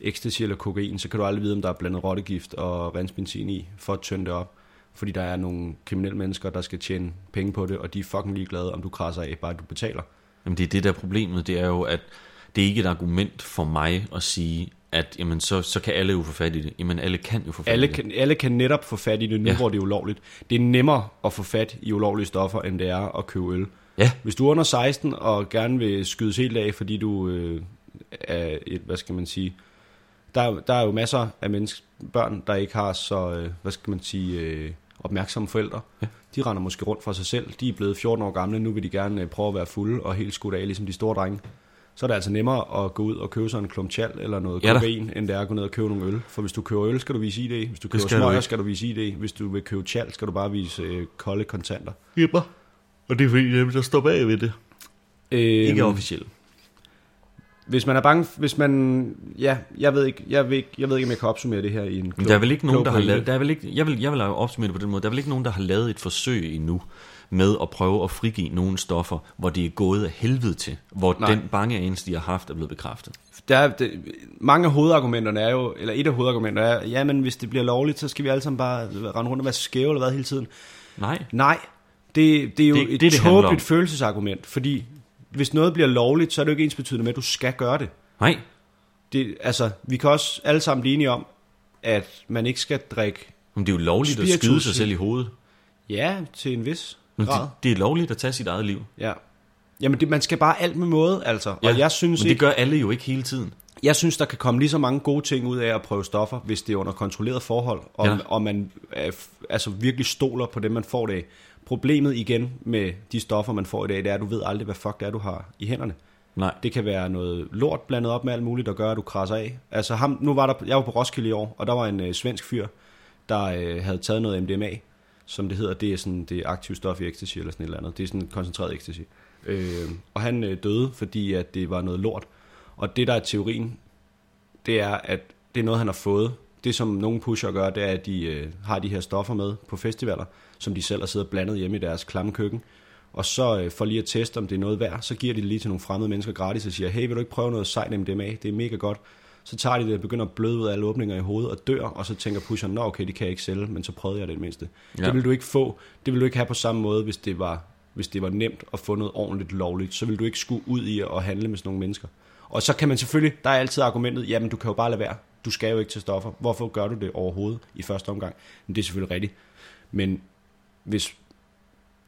ecstasy eller kokain, så kan du aldrig vide, om der er blandet rottegift og vandsbenzin i, for at tynde det op. Fordi der er nogle kriminelle mennesker, der skal tjene penge på det, og de er fucking ligeglade, om du krasser af, bare du betaler.
Jamen det er det der er problemet, det er jo, at det er ikke et argument for mig at sige, at jamen, så, så kan alle jo få fat i det. Jamen alle kan jo få fat
Alle
i det.
kan, alle kan netop få fat i det nu, ja.
Ja.
hvor det er ulovligt. Det er nemmere at få fat i ulovlige stoffer, end det er at købe øl.
Ja,
Hvis du er under 16 og gerne vil skydes helt af, fordi du øh, er et, hvad skal man sige, der, er- der er jo masser af mennesker, børn, der ikke har så, øh, hvad skal man sige, øh, opmærksomme forældre. Ja. De render måske rundt for sig selv. De er blevet 14 år gamle, nu vil de gerne øh, prøve at være fulde og helt skudt af, ligesom de store drenge. Så er det altså nemmere at gå ud og købe sig en klump chal eller noget
Ja
ja,
da.
kokain, end det er at gå ned og købe nogle øl. For hvis du køber øl, skal du vise ID. Hvis du køber
skal du
smøger,
ikke.
skal du vise ID. Hvis du vil købe chal, skal du bare vise øh, kolde kontanter.
Jipper. Og det er fordi, dem, der står bag ved det.
Øh,
Ikke officielt.
Hvis man er bange, hvis man, ja, jeg ved ikke, jeg ved ikke, jeg ved ikke om jeg kan opsummere det her i en klog,
Men der er vel ikke nogen,
klog
der har
pointe.
lavet... Der er vel ikke, jeg, vil, jeg vil opsummere det på den måde. Der er vel ikke nogen, der har lavet et forsøg endnu med at prøve at frigive nogle stoffer, hvor det er gået af helvede til. Hvor
Nej.
Nej. den bange anelse, de har haft, er blevet bekræftet.
Der er, det, mange af hovedargumenterne er jo, eller et af hovedargumenterne er, ja, men hvis det bliver lovligt, så skal vi alle sammen bare rende rundt og være skæve eller hvad hele tiden.
Nej.
Nej, det, det er jo
Det er
det,
ikke
et
det,
det,
det handler om.
tåbeligt følelsesargument, fordi hvis noget bliver lovligt, så er det jo ikke ens betydende med, at du skal gøre det.
Nej.
det. Altså, vi kan også alle sammen blive enige om, at man ikke skal drikke,
Men det er jo lovligt at skyde
Spiritus.
sig selv i hovedet.
ja, til en vis
Men
grad.
det, det er lovligt at tage sit eget liv.
Ja. Jamen, det, man skal bare alt med måde, altså. Ja,
Ja,
og jeg synes,
Men det
ikke,
gør alle jo ikke hele tiden.
jeg synes, der kan komme lige så mange gode ting ud af at prøve stoffer, hvis det er under kontrolleret forhold, og, ja.
Ja.
og man øh, f- altså virkelig stoler på det, man får det af. Problemet igen med de stoffer, man får i dag, det er, at du ved aldrig, hvad fuck det er, du har i hænderne.
Nej.
Det kan være noget lort blandet op med alt muligt, der gør, at du krasser af. Altså ham, nu var der, jeg var på Roskilde i år, og der var en øh, svensk fyr, der øh, havde taget noget MDMA, som det hedder. Det er sådan det er aktive stof i ecstasy eller sådan et eller andet. Det er sådan en koncentreret ecstasy. Øh, og han øh, døde, fordi at det var noget lort. Og det, der er teorien, det er, at det er noget, han har fået. Det, som nogle pusher gør, det er, at de øh, har de her stoffer med på festivaler, som de selv har siddet og blandet hjemme i deres klamme køkken. Og så øh, for lige at teste, om det er noget værd, så giver de det lige til nogle fremmede mennesker gratis og siger, hey, vil du ikke prøve noget sejt MDMA? Det er mega godt. Så tager de det og begynder at bløde ud af alle åbninger i hovedet og dør, og så tænker pusheren, nå okay, det kan jeg ikke sælge, men så prøvede jeg det i det mindste. Ja.
Ja.
Det vil du ikke få, det vil du ikke have på samme måde, hvis det var, hvis det var nemt at få noget ordentligt lovligt, så vil du ikke skulle ud i at handle med sådan nogle mennesker. Og så kan man selvfølgelig, der er altid argumentet, jamen du kan jo bare lade være, du skal jo ikke til stoffer, hvorfor gør du det overhovedet i første omgang? Men det er selvfølgelig rigtigt. Men hvis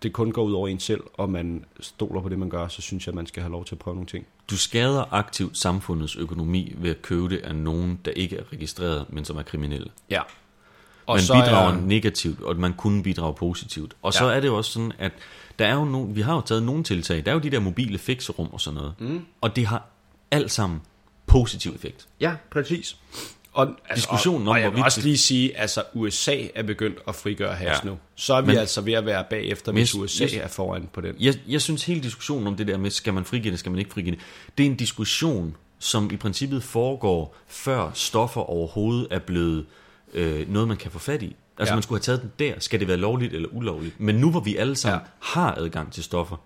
det kun går ud over en selv, og man stoler på det, man gør, så synes jeg, man skal have lov til at prøve nogle ting.
Du skader aktivt samfundets økonomi ved at købe det af nogen, der ikke er registreret, men som er kriminelle.
Ja.
Og man bidrager er... negativt, og man kunne bidrage positivt. Og ja. så
Ja.
er det jo også sådan, at der er jo nogen, vi har jo taget nogle tiltag. Der er jo de der mobile fixerum og sådan noget. Mm. Og det har alt sammen positiv effekt.
Ja, præcis. Og, altså,
Diskussionen om,
og, og jeg vil
hvorvidt
også
det-
lige sige, altså USA er begyndt at frigøre hash ja.
Ja.
nu. Så er vi Men,
Men-
altså ved at være bagefter, hvis
Yes,
USA
yes.
er foran på den.
Jeg, jeg synes hele diskussionen om det der med, skal man frigive det, skal man ikke frigive det, det er en diskussion, som i princippet foregår, før stoffer overhovedet er blevet øh, noget, man kan få fat i. Altså
Ja.
ja. man skulle have taget den der, skal det være lovligt eller ulovligt. Men nu hvor vi alle sammen
Ja.
ja. har adgang til stoffer,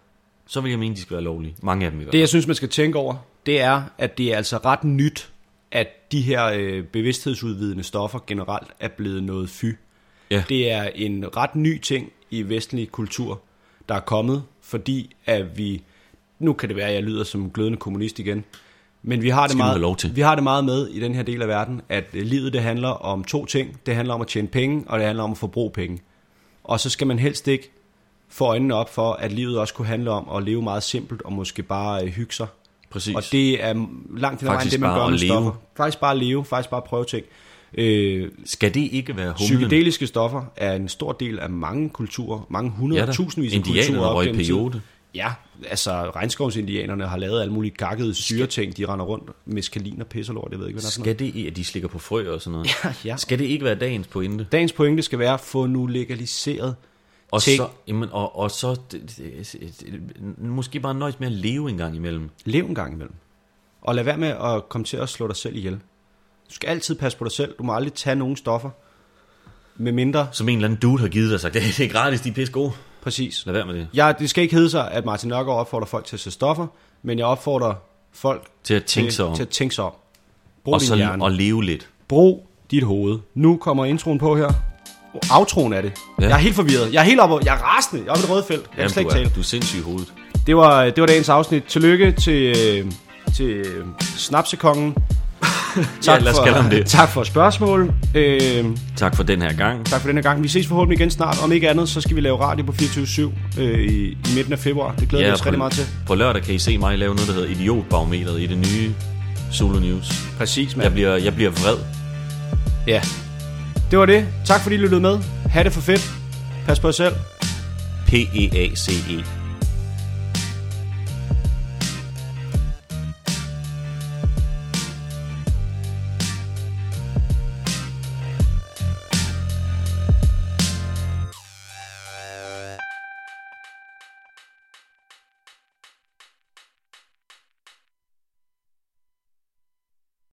så vil jeg mene, de skal være lovlige. Mange af dem i hvert
Det
fald.
jeg synes, man skal tænke over, det er, at det er altså ret nyt, at de her øh, bevidsthedsudvidende stoffer generelt er blevet noget fy.
Ja.
Det er en ret ny ting i vestlig kultur, der er kommet, fordi at vi, nu kan det være, at jeg lyder som en glødende kommunist igen, men vi har, det
Skal du
meget,
have lov til.
vi har det meget med i den her del af verden, at øh, livet det handler om to ting. Det handler om at tjene penge, og det handler om at forbruge penge. Og så skal man helst ikke få øjnene op for, at livet også kunne handle om at leve meget simpelt og måske bare øh, hygge sig.
Præcis.
Og det er langt hen ad vejen
Faktisk
det, man
bare
gør
at
med
leve.
stoffer. Faktisk bare at leve, faktisk bare at prøve ting. Øh,
Skal det ikke være humlen?
psykedeliske stoffer er en stor del af mange kulturer, mange hundrede,
Ja da.
tusindvis af
Indianerne
kulturer. op
røg
gennem tiden.
peyote.
Ja, altså regnskovsindianerne har lavet alle mulige gakkede syreting, de render rundt med skalin og pis og lort, jeg ved ikke, hvad der er for noget.
Skal det ikke, at de slikker på frø og sådan noget?
ja.
Skal det ikke være dagens pointe?
Dagens pointe skal være, få nu legaliseret
Og
ting.
så, jamen, og, og så det, det, det, måske bare nøjes med at leve en gang imellem.
Lev en gang imellem. Og lad være med at komme til at slå dig selv ihjel. Du skal altid passe på dig selv. Du må aldrig tage nogen stoffer. Med mindre,
Som en eller anden dude har givet dig og sagt, det er gratis, de er pisse gode.
præcis.
Lad være med det.
Ja, det skal ikke hedde sig, at Martin Nørgaard opfordrer folk til at tage stoffer, men jeg opfordrer folk
Til at tænke sig om.
til at tænke sig om. Brug
og,
din
så,
hjerne.
og leve lidt.
Brug dit hoved. Nu kommer introen på her. Outroen er det. Ja.
Ja.
Jeg er helt forvirret. Jeg er helt oppe. Jeg er rasende. Jeg er oppe i det røde felt. Jeg kan slet
Jamen,
ikke
du, er,
tale.
du er sindssyg i hovedet.
Det var, det var dagens afsnit. Tillykke til, øh, til øh, Snapsekongen. tak,
lad os
for,
kalde ham det.
tak for spørgsmål. Øh,
Tak for den her gang.
tak for denne gang. Vi ses forhåbentlig igen snart. Om ikke andet, så skal vi lave radio på 24-7 øh, i, i midten af februar. Det glæder vi os
på,
rigtig meget til.
på lørdag kan I se mig lave noget, der hedder Idiotbarometeret i det nye Solo News.
Præcis,
Jeg
mand.
bliver, jeg bliver vred.
Ja. Det var det. Tak fordi I lyttede med. Ha' det for fedt. Pas på jer selv.
P-E-A-C-E.